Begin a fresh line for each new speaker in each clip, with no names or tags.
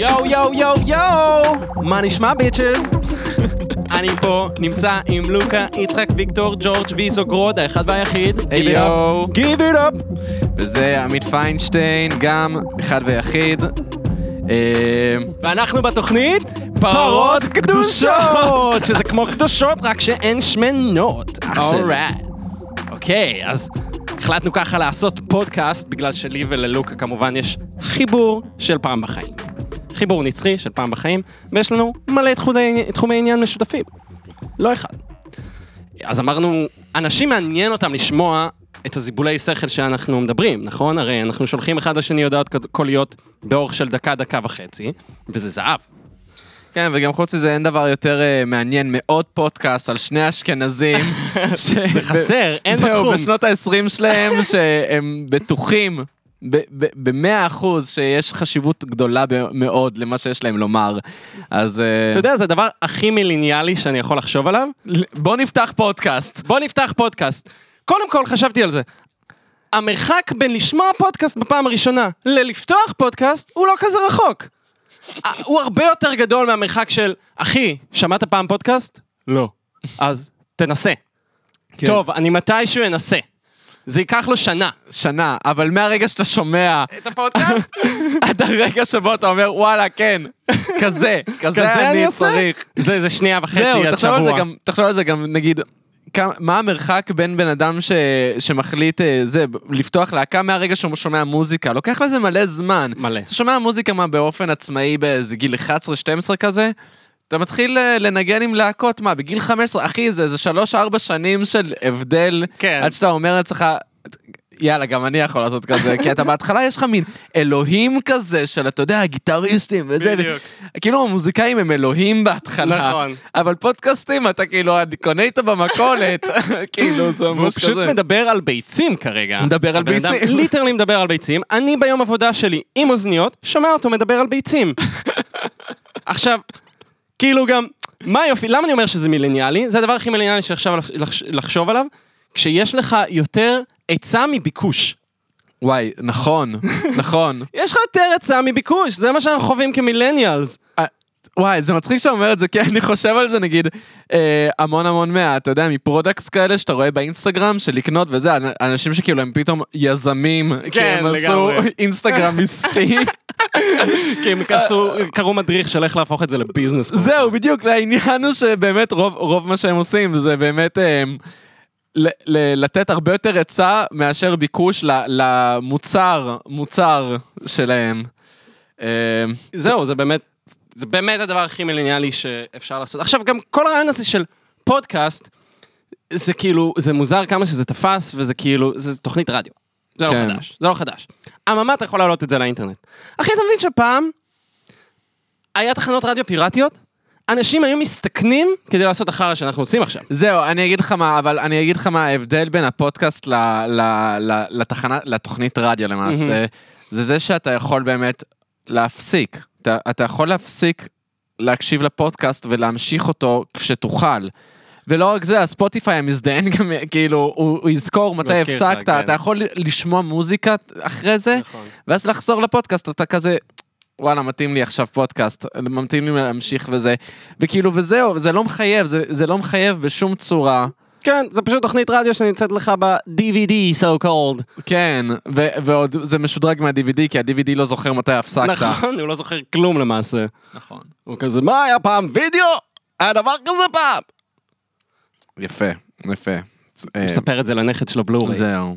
יואו יואו יואו יואו! מה נשמע ביצ'ז? אני פה, נמצא עם לוקה, יצחק, ויקטור, ג'ורג' ויזוגרוד, האחד והיחיד.
היי, יואו.
גיב איט אפ!
וזה עמית פיינשטיין, גם אחד ויחיד. אה,
ואנחנו בתוכנית
פרות
קדושות! שזה כמו קדושות, רק שאין שמנות.
אח שלי.
Alright. אוקיי, אז החלטנו ככה לעשות פודקאסט, בגלל שלי וללוקה כמובן יש חיבור של פעם בחיים. חיבור נצחי של פעם בחיים, ויש לנו מלא תחומי, תחומי עניין משותפים. לא אחד. אז אמרנו, אנשים מעניין אותם לשמוע את הזיבולי שכל שאנחנו מדברים, נכון? הרי אנחנו שולחים אחד לשני הודעות קוליות באורך של דקה, דקה וחצי, וזה זהב.
כן, וגם חוץ מזה אין דבר יותר אה, מעניין מעוד פודקאסט על שני אשכנזים. ש-
זה חסר, אין
זהו,
בתחום.
בשנות ה-20 שלהם, שהם בטוחים במאה אחוז שיש חשיבות גדולה ב- מאוד למה שיש להם לומר. אז אה,
אתה יודע, זה הדבר הכי מיליניאלי שאני יכול לחשוב עליו.
בוא נפתח פודקאסט.
בוא נפתח פודקאסט. קודם כל, חשבתי על זה. המרחק בין לשמוע פודקאסט בפעם הראשונה ללפתוח פודקאסט הוא לא כזה רחוק. אה, הוא הרבה יותר גדול מהמרחק של, אחי, שמעת פעם פודקאסט?
לא.
אז תנסה.
כן.
טוב, אני מתישהו אנסה. זה ייקח לו שנה.
שנה, אבל מהרגע שאתה שומע,
את הפודקאסט?
עד הרגע שבו אתה אומר, וואלה, כן, כזה, כזה אני צריך.
זה, זה שנייה וחצי עד שבוע.
זהו, תחשוב על זה גם, תחשוב על זה גם, נגיד, כמה- מה המרחק בין בן אדם ש, שמחליט, אה, זה, ב- לפתוח להקה מהרגע שהוא שומע מוזיקה? לוקח לזה מלא זמן.
מלא.
אתה שומע מוזיקה, מה, באופן עצמאי באיזה גיל 11-12 כזה? אתה מתחיל אה, לנגן עם להקות, מה, בגיל 15, אחי, זה איזה 3-4 שנים של הבדל,
כן.
עד שאתה אומר לעצמך... יאללה, גם אני יכול לעשות כזה, כי אתה בהתחלה יש לך מין אלוהים כזה של, אתה יודע, הגיטריסטים וזה, ו-
בדיוק.
כאילו המוזיקאים הם אלוהים בהתחלה.
נכון.
אבל פודקאסטים אתה כאילו, אני קונה איתו במכולת, כאילו זה
והוא
ממש כזה.
פשוט מדבר על ביצים כרגע.
הוא מדבר על
הבן אדם
ביצים.
ליטרלי מדבר על ביצים. אני ביום עבודה שלי עם אוזניות, שומע אותו מדבר על ביצים. עכשיו, כאילו גם, מה יופי, למה אני אומר שזה מילניאלי? זה הדבר הכי מילניאלי שעכשיו לח- לחש- לחשוב עליו, כשיש לך יותר היצע מביקוש.
וואי, נכון, נכון.
יש לך יותר היצע מביקוש, זה מה שאנחנו חווים כמילניאלס.
אה, וואי, זה מצחיק שאתה אומר את זה, כי אני חושב על זה, נגיד, אה, המון המון מה, אתה יודע, מפרודקטס כאלה שאתה רואה באינסטגרם, של לקנות וזה, אנ- אנשים שכאילו הם פתאום יזמים, כי
כן,
הם עשו
לגמרי.
אינסטגרם עסקי.
כי
אה,
הם כעסו- קראו מדריך של איך להפוך את זה לביזנס.
זהו, בדיוק, והעניין הוא שבאמת רוב, רוב מה שהם עושים זה באמת הם, ל, ל, לתת הרבה יותר היצע מאשר ביקוש ל, למוצר, מוצר שלהם. אמ,
זהו, זה באמת, זה באמת הדבר הכי מילניאלי שאפשר לעשות. עכשיו, גם כל הרעיון הזה של פודקאסט, זה כאילו, זה מוזר כמה שזה תפס, וזה כאילו, זה תוכנית רדיו. זה לא
כן.
חדש, זה לא חדש. אממה, אתה יכול להעלות את זה לאינטרנט. אחי, אתה מבין שפעם היה תחנות רדיו פיראטיות? אנשים היו מסתכנים כדי לעשות אחר שאנחנו עושים עכשיו.
זהו, אני אגיד לך מה, אבל אני אגיד לך מה ההבדל בין הפודקאסט ל, ל, ל, לתחנה, לתוכנית רדיו למעשה, זה זה שאתה יכול באמת להפסיק. אתה, אתה יכול להפסיק להקשיב לפודקאסט ולהמשיך אותו כשתוכל. ולא רק זה, הספוטיפיי המזדיין גם, כאילו, הוא, הוא יזכור מתי
מזכיר לך,
הפסקת,
כן.
אתה יכול לשמוע מוזיקה אחרי זה,
נכון.
ואז לחזור לפודקאסט, אתה כזה, וואלה, מתאים לי עכשיו פודקאסט, מתאים לי להמשיך וזה. וכאילו, וזהו, זה לא מחייב, זה, זה לא מחייב בשום צורה.
כן, זה פשוט תוכנית רדיו שנמצאת לך ב-DVD, so called.
כן, ו- ועוד זה משודרג מה-DVD, כי ה-DVD לא זוכר מתי הפסקת.
נכון, הוא לא זוכר כלום למעשה.
נכון.
הוא כזה, מה היה פעם וידאו? היה דבר כזה פעם!
יפה, יפה.
הוא מספר את זה לנכד שלו
אה,
בלורי.
זהו.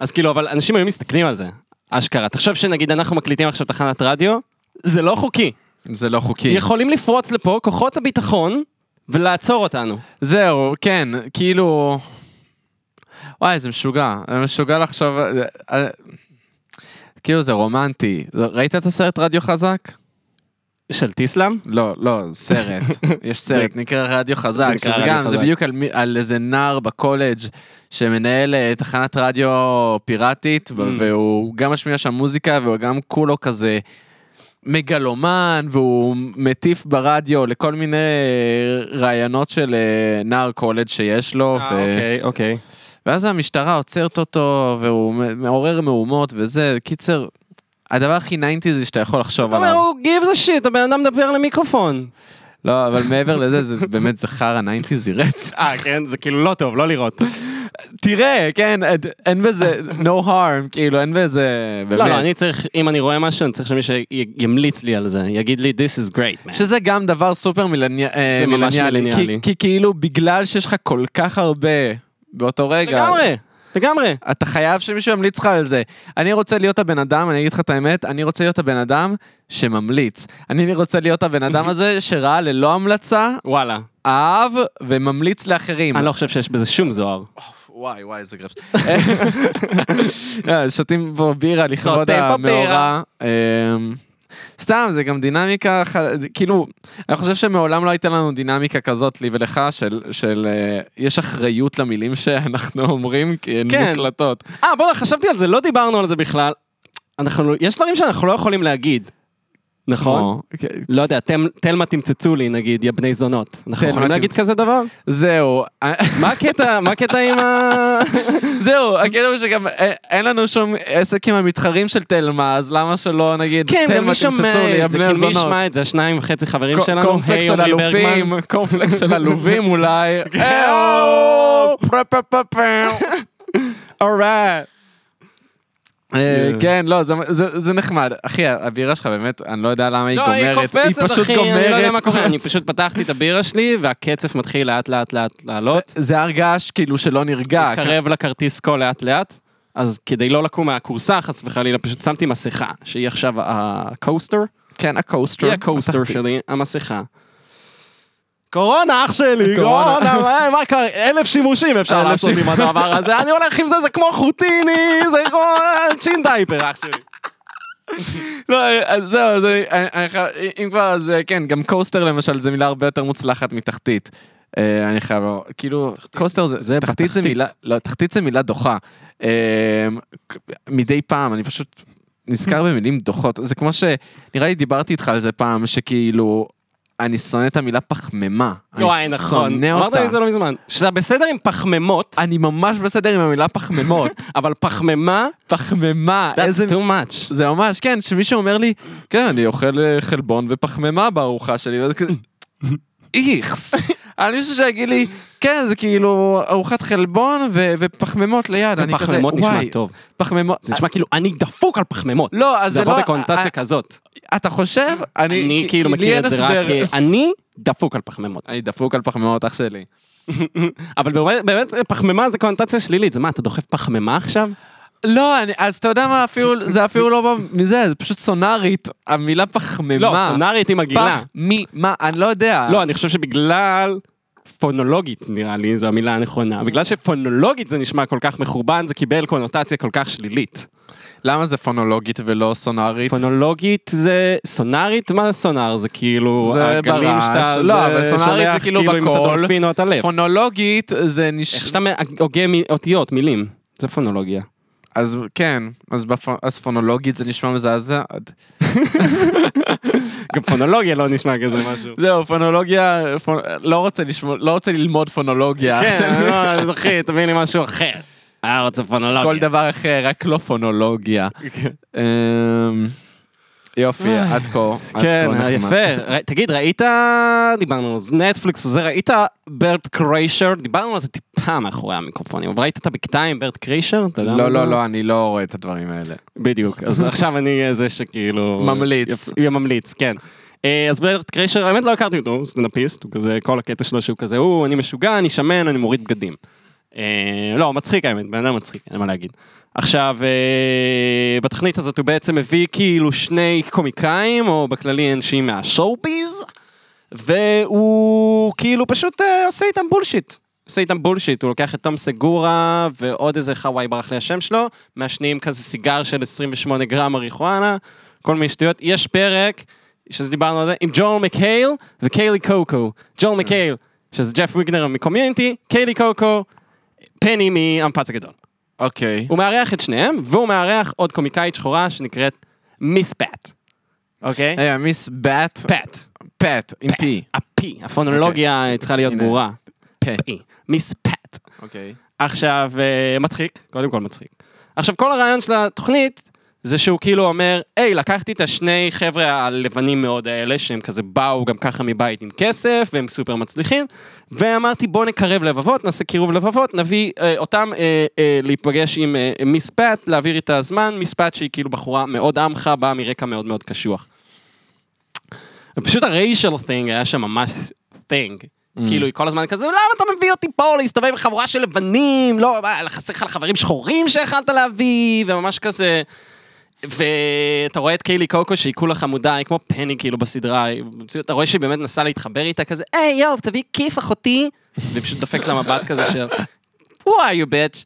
אז כאילו, אבל אנשים היו מסתכלים על זה, אשכרה. תחשוב שנגיד אנחנו מקליטים עכשיו תחנת רדיו, זה לא חוקי.
זה לא חוקי.
יכולים לפרוץ לפה כוחות הביטחון ולעצור אותנו.
זהו, כן, כאילו... וואי, זה משוגע. זה משוגע לחשוב... על- על- כאילו, זה רומנטי. ראית את הסרט רדיו חזק?
של טיסלאם?
לא, לא, סרט. יש סרט, נקרא רדיו חזק,
נקרא
שזה
רדיו
גם, זה
חזק.
בדיוק על מי- על איזה נער בקולג' שמנהל אה, תחנת רדיו פיראטית,
Mm.
ו- והוא גם משמיע שם מוזיקה, והוא גם כולו כזה מגלומן, והוא מטיף ברדיו לכל מיני אה, רעיונות של אה, נער קולג' שיש לו, ו-
אה, אוקיי.
ואז המשטרה עוצרת אותו, והוא מ- מעורר מהומות וזה, קיצר. הדבר הכי 90 שאתה יכול לחשוב
אתה אומר,
עליו.
הוא gives a shit, הבן אדם מדבר למיקרופון.
לא, אבל מעבר לזה, זה באמת זכר הניינטיז רץ.
אה, כן, זה כאילו לא טוב, לא לראות.
תראה, כן, אין בזה no harm, כאילו, אין בזה, באמת.
לא, לא, אני צריך, אם אני רואה משהו, אני צריך שמישהו ימליץ לי על זה, יגיד לי, this is great, man.
שזה גם דבר סופר מילני- אה,
זה ממש
מילניאלי. כי-
מילניאלי.
כי כאילו, בגלל שיש לך כל כך הרבה באותו רגע...
לגמרי, לגמרי.
אתה חייב שמישהו ימליץ לך על זה. אני רוצה להיות הבן אדם, אני אגיד לך את האמת, אני רוצה להיות הבן אדם שממליץ. אני רוצה להיות הבן אדם הזה שראה ללא המלצה,
וואלה.
אהב וממליץ לאחרים.
אני לא חושב שיש בזה שום זוהר.
וואי, וואי, איזה גרפס. לא, שותים פה בירה לכבוד
שותים פה
המאורע.
בירה.
אמ, סתם, זה גם דינמיקה, ח- כאילו, אני חושב שמעולם לא הייתה לנו דינמיקה כזאת, לי ולך, של- של אה, יש אחריות למילים שאנחנו אומרים, כי הן
כן.
מוקלטות.
אה, בוא'נה, חשבתי על זה, לא דיברנו על זה בכלל. אנחנו, יש דברים שאנחנו לא יכולים להגיד, נכון?
כמו- כן,
לא יודע, תל- תלמה תמצצו לי, נגיד, יא בני זונות. אנחנו
תלמה
יכולים להגיד
תמצ-
כזה דבר?
זהו, אה,
מה הקטע, מה הקטע עם ה...
זהו, הקטע הוא שגם אה, אין לנו שום עסק עם המתחרים של תלמה, אז למה שלא נגיד,
כן, גם
תלמה
מי שומע
תמצצו לי,
את זה,
הבני
כאילו מי
הזונות.
ישמע את זה, השניים וחצי חברים
ק-
שלנו,
קורנפלקס
היי,
של
עמרי ברגמן.
אלופים, קורנפלקס של אלופים אולי.
אה, אהו!
פרה פה פה פה.
אורייט.
אה, כן, לא, זה- זה זה נחמד. אחי, הבירה שלך באמת, אני לא יודע למה היא
לא, היא
גומרת.
קופצת,
פשוט
אחי, אני לא יודע מה
גומרת.
קורה. אני פשוט פתחתי את הבירה שלי, והקצף מתחיל לאט לאט לאט לעלות.
זה הר געש כאילו שלא נרגע.
מתקרב לכרטיס כה לאט לאט. אז כדי לא לקום מהכורסה, חס וחלילה, פשוט שמתי מסכה, שהיא עכשיו הקוסטר.
כן, הקוסטר.
היא הקוסטר
התחתית.
שלי, המסכה. קורונה, אח שלי,
קורונה.
קורונה, מה- מה קרה? אלף שימושים אפשר
אלף
לעשות עם
שימוש.
הדבר הזה, אני הולך עם זה, זה כמו חוטיני, זה כמו צ'ינדייפר, אח שלי.
לא, אז זהו, אז אני- אני- אני חייב- אם כבר, אז אה, כן, גם קוסטר למשל, זו מילה הרבה יותר מוצלחת מתחתית. אה, אני חייב, לומר. כאילו, קוסטר זה-
זה
תחתית זה
בתחתית.
מילה, לא, תחתית זה מילה דוחה. אה, ק- מדי פעם, אני פשוט נזכר במילים דוחות. זה כמו ש... נראה לי דיברתי איתך על זה פעם, שכאילו, אני שונא את המילה פחמימה.
וואי,
אני
נכון.
שונא
אמרת לי
אותה.
את זה לא מזמן. שאתה בסדר עם פחמימות,
אני ממש בסדר עם המילה פחמימות.
אבל פחמימה,
פחמימה, איזה
that's too much.
זה ממש, כן, שמישהו אומר לי, כן, אני אוכל אה, חלבון ופחמימה בארוחה שלי, וזה כזה, איכס. אני מישהו שיגיד לי, כן, זה כאילו ארוחת חלבון ו- ופחמימות ליד, אני כזה,
פחמימות נשמע
וואי,
טוב.
פחמימות,
זה נשמע כאילו, אני דפוק על פחמימות.
לא, אז זה
זה בא
לא,
בקונוטציה
אה,
כזאת.
אתה חושב?
אני
כי-
כאילו
כי לי
מכיר
אין
את זה רק,
הסבר.
אה, אני דפוק על פחמימות.
אני דפוק על פחמימות, אח שלי.
אבל באמת, באמת, פחמימה זה קונוטציה שלילית, זה מה, אתה דוחף פחמימה עכשיו?
לא, אני- אז אתה יודע מה, אפילו, זה אפילו לא בא מזה, זה פשוט סונארית, המילה פחמימה.
לא, סונארית היא מגעילה.
פחמימה, אני לא יודע.
לא, אני חושב שבגלל... פונולוגית נראה לי, זו המילה הנכונה. בגלל שפונולוגית זה נשמע כל כך מחורבן, זה קיבל קונוטציה כל כך שלילית.
למה זה פונולוגית ולא סונארית?
פונולוגית זה סונארית? מה זה סונאר? זה כאילו...
זה
הגלים
ברעש,
שאתה-
לא,
זה
אבל סונארית זה
שולח
כאילו
אם אתה
בקול.
דולפין או אתה לב.
פונולוגית זה נש...
איך שאתה מ- הוגה מ- אותיות, מילים. זה פונולוגיה.
אז כן, אז, בפ... אז פונולוגית זה נשמע מזעזע.
גם פונולוגיה לא נשמע כזה משהו.
זהו, פונולוגיה, פונ... לא, רוצה לשמוע, לא רוצה ללמוד פונולוגיה.
כן,
עכשיו,
לא, אחי, תביא לי משהו אחר. אה, אני רוצה פונולוגיה.
כל דבר אחר, רק לא פונולוגיה. אמ, יופי, עד כה, עד
כן,
כה נחמד.
יפה. ר- תגיד, ראית, דיברנו על זה, נטפליקס וזה, ראית ברט קריישר? דיברנו על זה טיפה מאחורי המיקרופונים, אבל ראית את הבקתה עם ברט קריישר? אתה יודע מה
לא,
זה?
לא, לא, אני לא רואה את הדברים האלה.
בדיוק, אז עכשיו אני זה שכאילו...
ממליץ.
יפ- יהיה ממליץ, כן. אה, אז ברט קריישר, האמת לא הכרתי אותו, הוא סטנדאפיסט, הוא כזה, כל הקטע שלו שהוא כזה, הוא, אני משוגע, אני שמן, אני מוריד בגדים. אה, לא, מצחיק האמת, בן אדם מצחיק, אין מה להגיד. עכשיו, אה, בתוכנית הזאת הוא בעצם מביא כאילו שני קומיקאים, או בכללי אנשים מהשואו-ביז, והוא כאילו פשוט אה, עושה איתם בולשיט. עושה איתם בולשיט, הוא לוקח את תום סגורה ועוד איזה חוואי ברח לי השם שלו, מעשנים כזה סיגר של 28 גרם מריחואנה, כל מיני שטויות. יש פרק, שזה דיברנו על זה, עם ג'ול מקהייל וקיילי קוקו. ג'ול מקהייל, שזה ג'ף ויגנר מקומיונטי, קיילי קוקו, פני מהמפץ הגדול.
אוקיי.
הוא מארח את שניהם, והוא מארח עוד קומיקאית שחורה שנקראת מיס פאט. אוקיי?
רגע, מיס באט?
פאט.
פאט, עם
פאט.
פי.
הפי. הפונולוגיה צריכה להיות
הנה.
ברורה.
פאט.
פי. מיס פאט.
אוקיי.
עכשיו, אה, מצחיק, קודם כל מצחיק. עכשיו, כל הרעיון של התוכנית זה שהוא כאילו אומר, היי, לקחתי את השני חבר'ה הלבנים מאוד האלה, שהם כזה באו גם ככה מבית עם כסף, והם סופר מצליחים, ואמרתי, בוא נקרב לבבות, נעשה קירוב לבבות, נביא אה, אותם אה, אה, להיפגש עם אה, מיס פאט, להעביר איתה זמן, מיס פאט שהיא כאילו בחורה מאוד עמך, באה מרקע מאוד מאוד קשוח. פשוט הריישל thing היה שם ממש thing. כאילו, היא כל הזמן כזה, למה אתה מביא אותי פה להסתובב עם חבורה של לבנים? לא, מה, חסר לך לחברים שחורים שיכלת להביא? וממש כזה... ואתה רואה את קיילי קוקו שהיא כולה חמודה, היא כמו פני כאילו בסדרה, היא- אתה רואה שהיא באמת נסעה להתחבר איתה כזה, היי יואו, תביא כיף אחותי, והיא פשוט דופקת לה מבט כזה של, who are you bitch?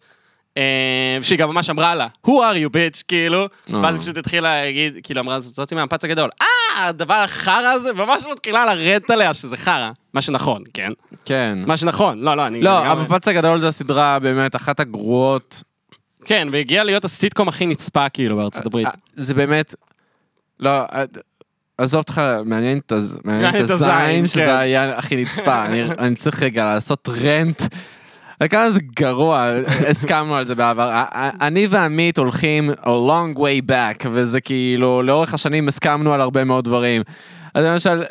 אה, שהיא גם ממש אמרה לה, who are you bitch, כאילו,
אה.
ואז היא פשוט התחילה להגיד, כאילו אמרה, "זאת- זאתי מהמפץ הגדול, אה, הדבר החרא הזה, ממש מתחילה לרדת עליה שזה חרא, מה שנכון, כן?
כן.
מה שנכון, לא, לא, אני...
לא,
לגמרי-
המפץ הגדול זה הסדרה באמת אחת הגרועות.
כן, והגיע להיות הסיטקום הכי נצפה כאילו בארצות הברית.
אה, זה באמת... לא, אה, עזוב אותך, מעניין את הז- מעניין את הזין,
כן.
שזה היה הכי נצפה. אני- אני צריך רגע לעשות רנט. וכמה זה גרוע, הסכמנו על זה בעבר. א- א- אני ועמית הולכים a long way back, וזה כאילו, לאורך השנים הסכמנו על הרבה מאוד דברים. אז למשל,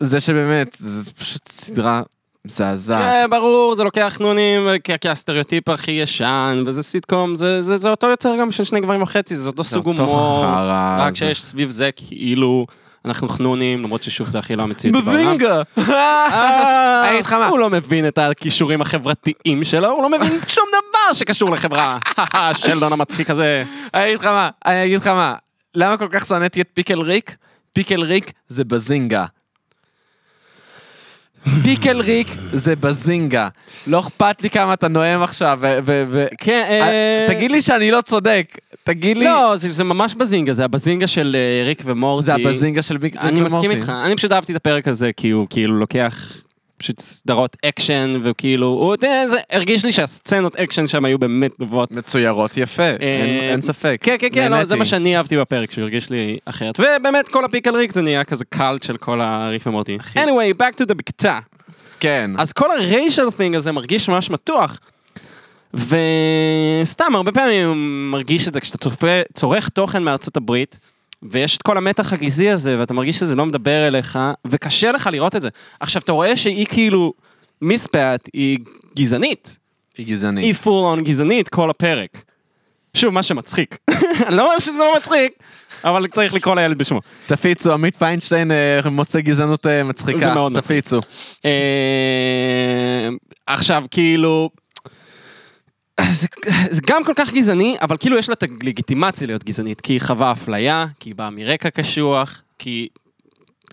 זה שבאמת, זה פשוט סדרה מזעזעת.
כן, ברור, זה לוקח נונים, אה, כי- כי הסטריאוטיפ הכי ישן, וזה סיטקום, זה- זה זה אותו יוצר גם של שני גברים וחצי, זה אותו סוג
אותו
הומור,
חרא
רק
הזה.
שיש סביב זה כאילו, אנחנו חנונים, למרות ששוב זה הכי לא
כן,
המציאות בעולם.
אה, אני אגיד לך מה.
הוא לא מבין את הכישורים החברתיים שלו, הוא לא מבין שום דבר שקשור לחברה. שלדון המצחיק הזה.
אני אגיד לך מה, אני אגיד לך מה, למה כל כך שנאתי את פיקל ריק? פיקל ריק זה בזינגה. פיקל ריק זה בזינגה. לא אכפת לי כמה אתה נואם עכשיו, ו... ו- ו-
כן,
אה, תגיד לי שאני לא צודק, תגיד לי...
לא, זה זה ממש בזינגה, זה הבזינגה של אה, ריק ומורטי.
זה הבזינגה של ביג
אני מסכים איתך, אני פשוט אהבתי את הפרק הזה, כי הוא כאילו לוקח פשוט סדרות אקשן, וכאילו, הוא יודע, זה הרגיש לי שהסצנות אקשן שם היו באמת טובות.
מצוירות יפה, אין
אה,
אין ספק.
כן, כן, כן, לא,
נהניתי.
זה מה שאני אהבתי בפרק, שהוא הרגיש לי אחרת. ובאמת, כל הפיק על ריק זה נהיה כזה קאלט של כל הריק ומורטי. anyway, back to the בקתה.
כן.
אז כל הריישל thing הזה מרגיש ממש מתוח. וסתם, הרבה פעמים מרגיש את זה כשאתה צופה, צורך תוכן מארצות הברית, ויש את כל המתח הגזעי הזה, ואתה מרגיש שזה לא מדבר אליך, וקשה לך לראות את זה. עכשיו, אתה רואה שהיא כאילו, מיס פאט היא גזענית.
היא גזענית.
היא פול און גזענית כל הפרק. שוב, מה שמצחיק. אני לא אומר שזה לא מצחיק, אבל צריך לקרוא לילד בשמו.
תפיצו, עמית פיינשטיין אה, מוצא גזענות אה, מצחיקה.
זה מאוד מצחיק.
תפיצו.
אה, עכשיו, כאילו... זה, זה גם כל כך גזעני, אבל כאילו יש לה את הלגיטימציה להיות גזענית, כי היא חווה אפליה, כי היא באה מרקע קשוח, כי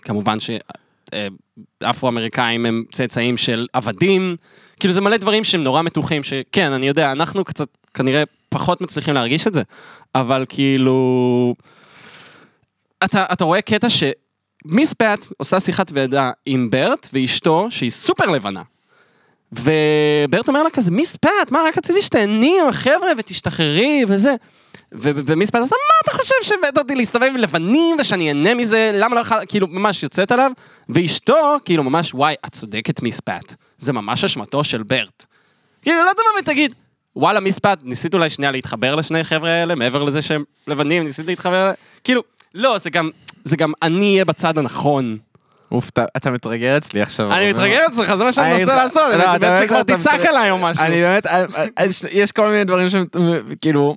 כמובן שאפרו-אמריקאים הם צאצאים של עבדים, כאילו זה מלא דברים שהם נורא מתוחים, שכן, אני יודע, אנחנו קצת כנראה פחות מצליחים להרגיש את זה, אבל כאילו... אתה, אתה רואה קטע ש... מיס פאט עושה שיחת ועדה עם ברט ואשתו, שהיא סופר לבנה. וברט אומר לה כזה, מיס פאט, מה, רק רציתי שתהני עם החבר'ה ותשתחררי וזה. ו- ו- ומיס פאט עושה, מה אתה חושב שהבאת אותי להסתובב עם לבנים ושאני אהנה מזה? למה לא יכול... כאילו, ממש יוצאת עליו. ואשתו, כאילו, ממש, וואי, את צודקת, מיס פאט. זה ממש אשמתו של ברט. כאילו, לא תבוא ותגיד, וואלה, מיס פאט, ניסית אולי שנייה להתחבר לשני חבר'ה האלה, מעבר לזה שהם לבנים, ניסית להתחבר אליהם? כאילו, לא, זה גם, זה גם אני אהיה בצד הנכון.
אוף, אתה- אתה מתרגר אצלי עכשיו.
אני מתרגש אצלך, זה מה שאני
אני
מנסה
איתך.
לעשות,
לא,
אני
אתה
באמת
באמת
שכבר
אתה
תצעק
מתרגש.
עליי או משהו.
אני באמת, אה, אה, יש- יש כל מיני דברים שהם, כאילו,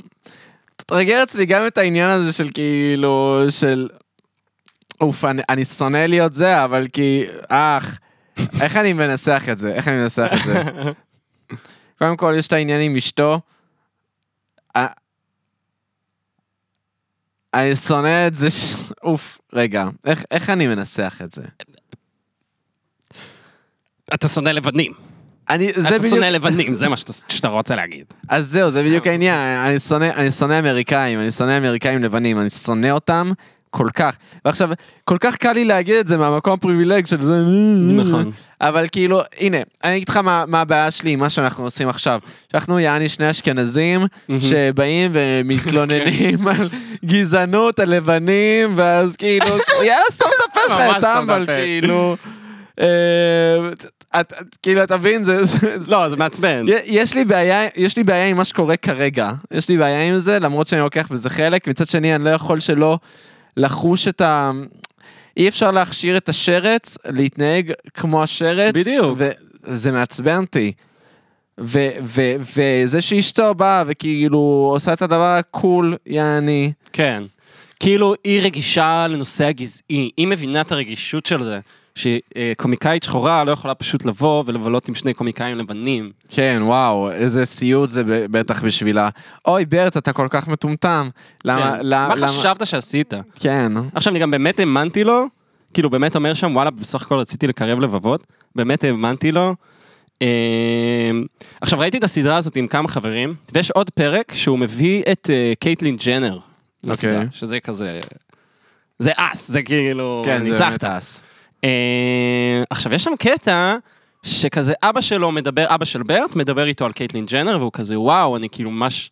תרגר אצלי גם את העניין הזה של כאילו, של, אוף, אני- אני שונא להיות זה, אבל כי, אך, איך אני מנסח את זה? איך אני מנסח את זה? קודם כל, יש את העניין עם אשתו. אה, אני שונא את זה, ש- אוף, רגע, איך- איך אני מנסח את זה?
אתה שונא לבנים.
אני, זה
אתה
בדיוק...
שונא לבנים, זה מה שאתה- שאתה רוצה להגיד.
אז זהו, זה בדיוק העניין, אני שונא, אני שונא אמריקאים, אני שונא אמריקאים לבנים, אני שונא אותם כל כך. ועכשיו, כל כך קל לי להגיד את זה מהמקום הפריבילג של זה,
נכון.
אבל כאילו, הנה, אני אגיד לך מה, מה הבעיה שלי עם מה שאנחנו עושים עכשיו. שאנחנו יעני שני אשכנזים, שבאים ומתלוננים על גזענות, על לבנים, ואז כאילו, יאללה, סתום את הפה שלך,
ממש
אתה
סתום את
אבל
הפה.
כאילו... אה, את, את- כאילו, אתה מבין, זה... זה- זה-
לא, זה מעצבן.
י- יש לי בעיה, יש לי בעיה עם מה שקורה כרגע. יש לי בעיה עם זה, למרות שאני לוקח בזה חלק. מצד שני, אני לא יכול שלא לחוש את ה... אי אפשר להכשיר את השרץ, להתנהג כמו השרץ.
בדיוק.
וזה מעצבן אותי. ו- ו- וזה שאשתו באה וכאילו עושה את הדבר הקול, יעני.
כן. כאילו, היא רגישה לנושא הגזעי, היא מבינה את הרגישות של זה, שקומיקאית שחורה לא יכולה פשוט לבוא ולבלות עם שני קומיקאים לבנים.
כן, וואו, איזה סיוט זה ב- בטח בשבילה. אוי, ברט, אתה כל כך מטומטם. למה,
כן.
למה,
מה
למה,
חשבת שעשית?
כן.
עכשיו, אני גם באמת האמנתי לו, כאילו, באמת אומר שם, וואלה, בסך הכל רציתי לקרב לבבות, באמת האמנתי לו. אה, עכשיו, ראיתי את הסדרה הזאת עם כמה חברים, ויש עוד פרק שהוא מביא את אה, קייטלין ג'נר.
אוקיי.
לסדרה, שזה כזה... זה אס, זה כאילו,
כן, זה
ניצחת.
באמת אס.
אה, עכשיו, יש שם קטע שכזה אבא שלו מדבר, אבא של ברט מדבר איתו על קייטלין ג'נר, והוא כזה, וואו, אני כאילו ממש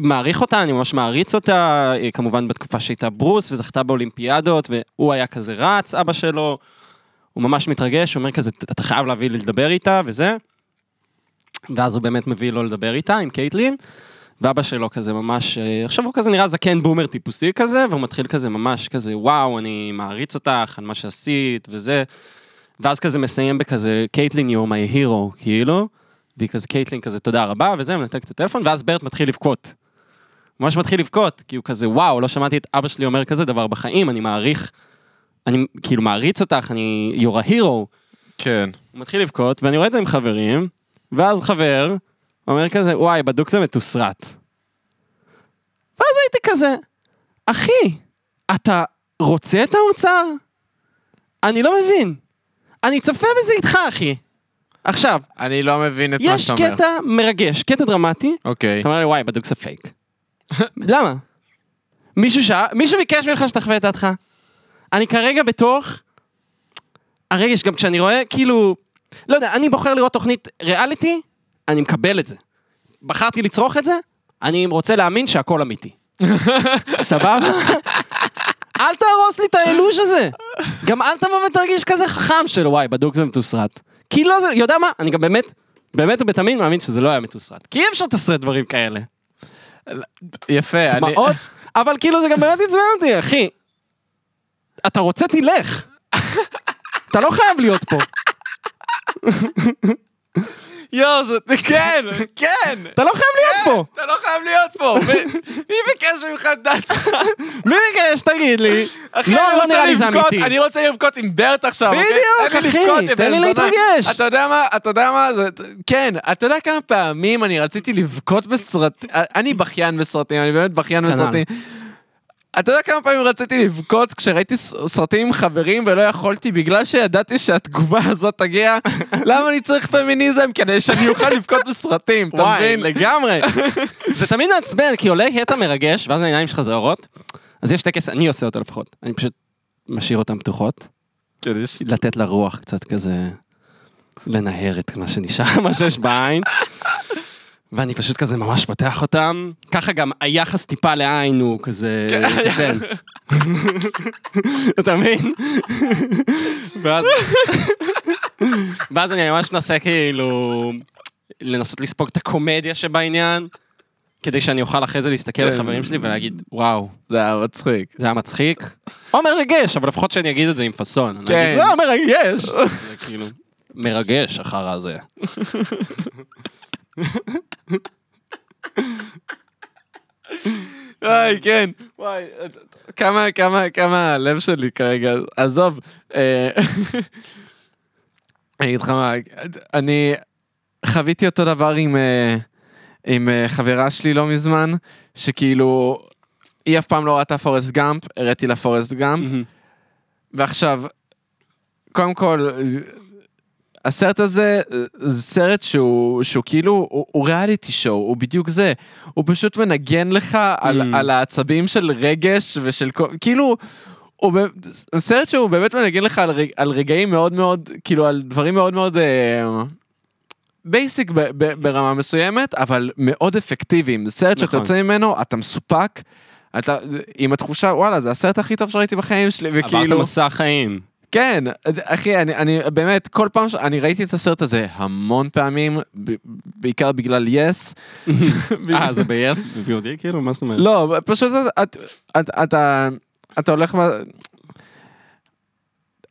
מעריך אותה, אני ממש מעריץ אותה, אה, כמובן בתקופה שהייתה ברוס וזכתה באולימפיאדות, והוא היה כזה רץ, אבא שלו, הוא ממש מתרגש, הוא אומר כזה, אתה חייב להביא לי לדבר איתה וזה. ואז הוא באמת מביא לו לדבר איתה, עם קייטלין. ואבא שלו כזה ממש, אה, עכשיו הוא כזה נראה זקן בומר טיפוסי כזה, והוא מתחיל כזה ממש כזה, וואו, אני מעריץ אותך על מה שעשית וזה. ואז כזה מסיים בכזה, קייטלין, you're my hero, כאילו. והיא כזה, קייטלין כזה, תודה רבה, וזה, מנתק את הטלפון, ואז ברט מתחיל לבכות. ממש מתחיל לבכות, כי הוא כזה, וואו, לא שמעתי את אבא שלי אומר כזה דבר בחיים, אני מעריך, אני כאילו מעריץ אותך, אני, you're a hero.
כן.
הוא מתחיל לבכות, ואני רואה את זה עם חברים, ואז חבר אומר כזה, וואי, בדוק זה מתוסרט. ואז הייתי כזה, אחי, אתה רוצה את האוצר? אני לא מבין. אני צופה בזה איתך, אחי. עכשיו,
אני לא מבין את מה
יש
שאתה אומר.
קטע מרגש, קטע דרמטי,
אוקיי.
אתה אומר לי, וואי, בדוק זה פייק. למה? מישהו שא... מישהו ביקש ממך שתחווה את דעתך. אני כרגע בתוך הרגש, גם כשאני רואה, כאילו... לא יודע, אני בוחר לראות תוכנית ריאליטי, אני מקבל את זה. בחרתי לצרוך את זה, אני רוצה להאמין שהכל אמיתי. סבבה? אל תהרוס לי את האילוש הזה. גם אל תבוא ותרגיש כזה חכם של וואי, בדוק זה מתוסרט. כי לא זה, יודע מה? אני גם באמת, באמת ובתמים מאמין שזה לא היה מתוסרט. כי אי אפשר לתסרט דברים כאלה.
יפה, אני...
דמעות, אבל כאילו זה גם באמת עצבן אותי, אחי. אתה רוצה תלך. אתה לא חייב להיות פה.
יואו, זה... כן, כן!
אתה לא חייב להיות פה.
אתה לא חייב להיות פה! מי- מי ביקש ממך את דעתך?
מי ביקש, תגיד לי.
אחי,
לא,
אני
לא
רוצה
נראה לי זה
לבכות-
אמיתי.
אני רוצה לבכות עם ברט עכשיו, אוקיי?
בדיוק,
תן לי
אחי,
לבכות, יא
תן לי
בן זונה.
להתרגש.
אתה יודע מה, אתה יודע מה, זה... כן, אתה יודע כמה פעמים אני רציתי לבכות בסרטים, אני בכיין בסרטים, אני באמת בכיין
כנ"ל.
בסרטים. אתה יודע כמה פעמים רציתי לבכות כשראיתי ס- סרטים עם חברים ולא יכולתי בגלל שידעתי שהתגובה הזאת תגיע? למה אני צריך פמיניזם כדי שאני אוכל לבכות בסרטים, אתה
וואי,
מבין?
לגמרי. זה תמיד מעצבן, כי עולה קטע מרגש, ואז העיניים שלך זוהרות. אז יש טקס, אני עושה אותו לפחות. אני פשוט משאיר אותן פתוחות.
כן, יש-
לתת לה רוח קצת כזה, לנהר את מה שנשאר, מה שיש בעין. ואני פשוט כזה ממש פותח אותם. ככה גם היחס טיפה לעין הוא כזה... כן. אתה מבין? ואז... ואז אני ממש מנסה כאילו לנסות לספוג את הקומדיה שבעניין, כדי שאני אוכל אחרי זה להסתכל
כן.
לחברים שלי ולהגיד, וואו,
זה היה מצחיק.
זה היה מצחיק. או מרגש, אבל לפחות שאני אגיד את זה עם פאסון. אני
כן.
אגיד, לא, מרגש. זה כאילו, מרגש אחר הזה.
וואי, כן. וואי, כמה, כמה, כמה הלב שלי כרגע. עזוב. אה, אני אגיד לך מה, אני חוויתי אותו דבר עם, אה, עם אה, חברה שלי לא מזמן, שכאילו, היא אף פעם לא ראתה פורסט גאמפ, הראתי לה פורסט גאמפ, ועכשיו, קודם כל, הסרט הזה אה, זה סרט שהוא, שהוא כאילו, הוא, הוא ריאליטי שואו, הוא בדיוק זה. הוא פשוט מנגן לך על,
Mm.
על העצבים של רגש ושל כל, כאילו, הוא באמת- זה סרט שהוא באמת מנגן לך על, רג, על רגעים מאוד מאוד, כאילו על דברים מאוד מאוד בייסיק ב, ב, ברמה מסוימת, אבל מאוד אפקטיביים. זה סרט שאתה
נכון.
יוצא ממנו, אתה מסופק. אתה עם התחושה, וואלה, זה הסרט הכי טוב שראיתי בחיים שלי, וכאילו...
עברת מסע חיים.
כן, אחי, אני, אני באמת, כל פעם ש... אני ראיתי את הסרט הזה המון פעמים, ב- בעיקר בגלל יס.
אה, זה ב-yes, ב-VOD כאילו? מה זאת אומרת?
לא, פשוט אתה, את, את, אתה, אתה הולך... אה, מה-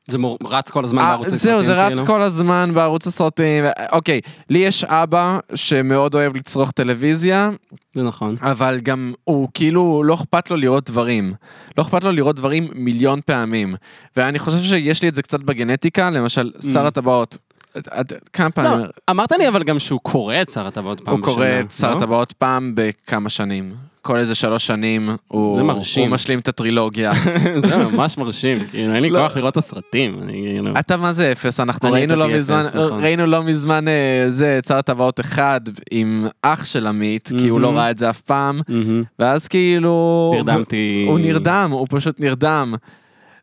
זה מור- רץ כל הזמן
אה,
בערוץ
זהו, זה רץ
כאילו?
כל הזמן בערוץ הסרטים. ו- אוקיי, לי יש אבא שמאוד אוהב לצרוך טלוויזיה,
זה נכון.
אבל גם הוא כאילו, לא אכפת לו לראות דברים. לא אכפת לו לראות דברים מיליון פעמים. ואני חושב שיש לי את זה קצת בגנטיקה, למשל, שר הטבעות. את- את- כמה
Mm. לא,
פעמים?
אמרת לי אבל גם שהוא קורא את שר הטבעות פעם
הוא
בשנה.
קורא את שר
לא?
הטבעות פעם בכמה שנים. כל איזה שלוש שנים
זה
הוא,
מרשים.
הוא משלים את הטרילוגיה.
זה ממש מרשים, כאילו אין לי
לא.
כוח לראות את הסרטים. אני, כאילו-
אתה מה זה אפס? אנחנו
אני
ראינו לא
יצאתי
מזמן,
אפס, נכון.
ראינו לא מזמן אה, זה, את שר הטבעות אחד עם אח של עמית, כי הוא
מהמם.
לא ראה את זה אף פעם,
מהמם.
ואז כאילו...
נרדמתי.
הוא נרדם, הוא פשוט נרדם.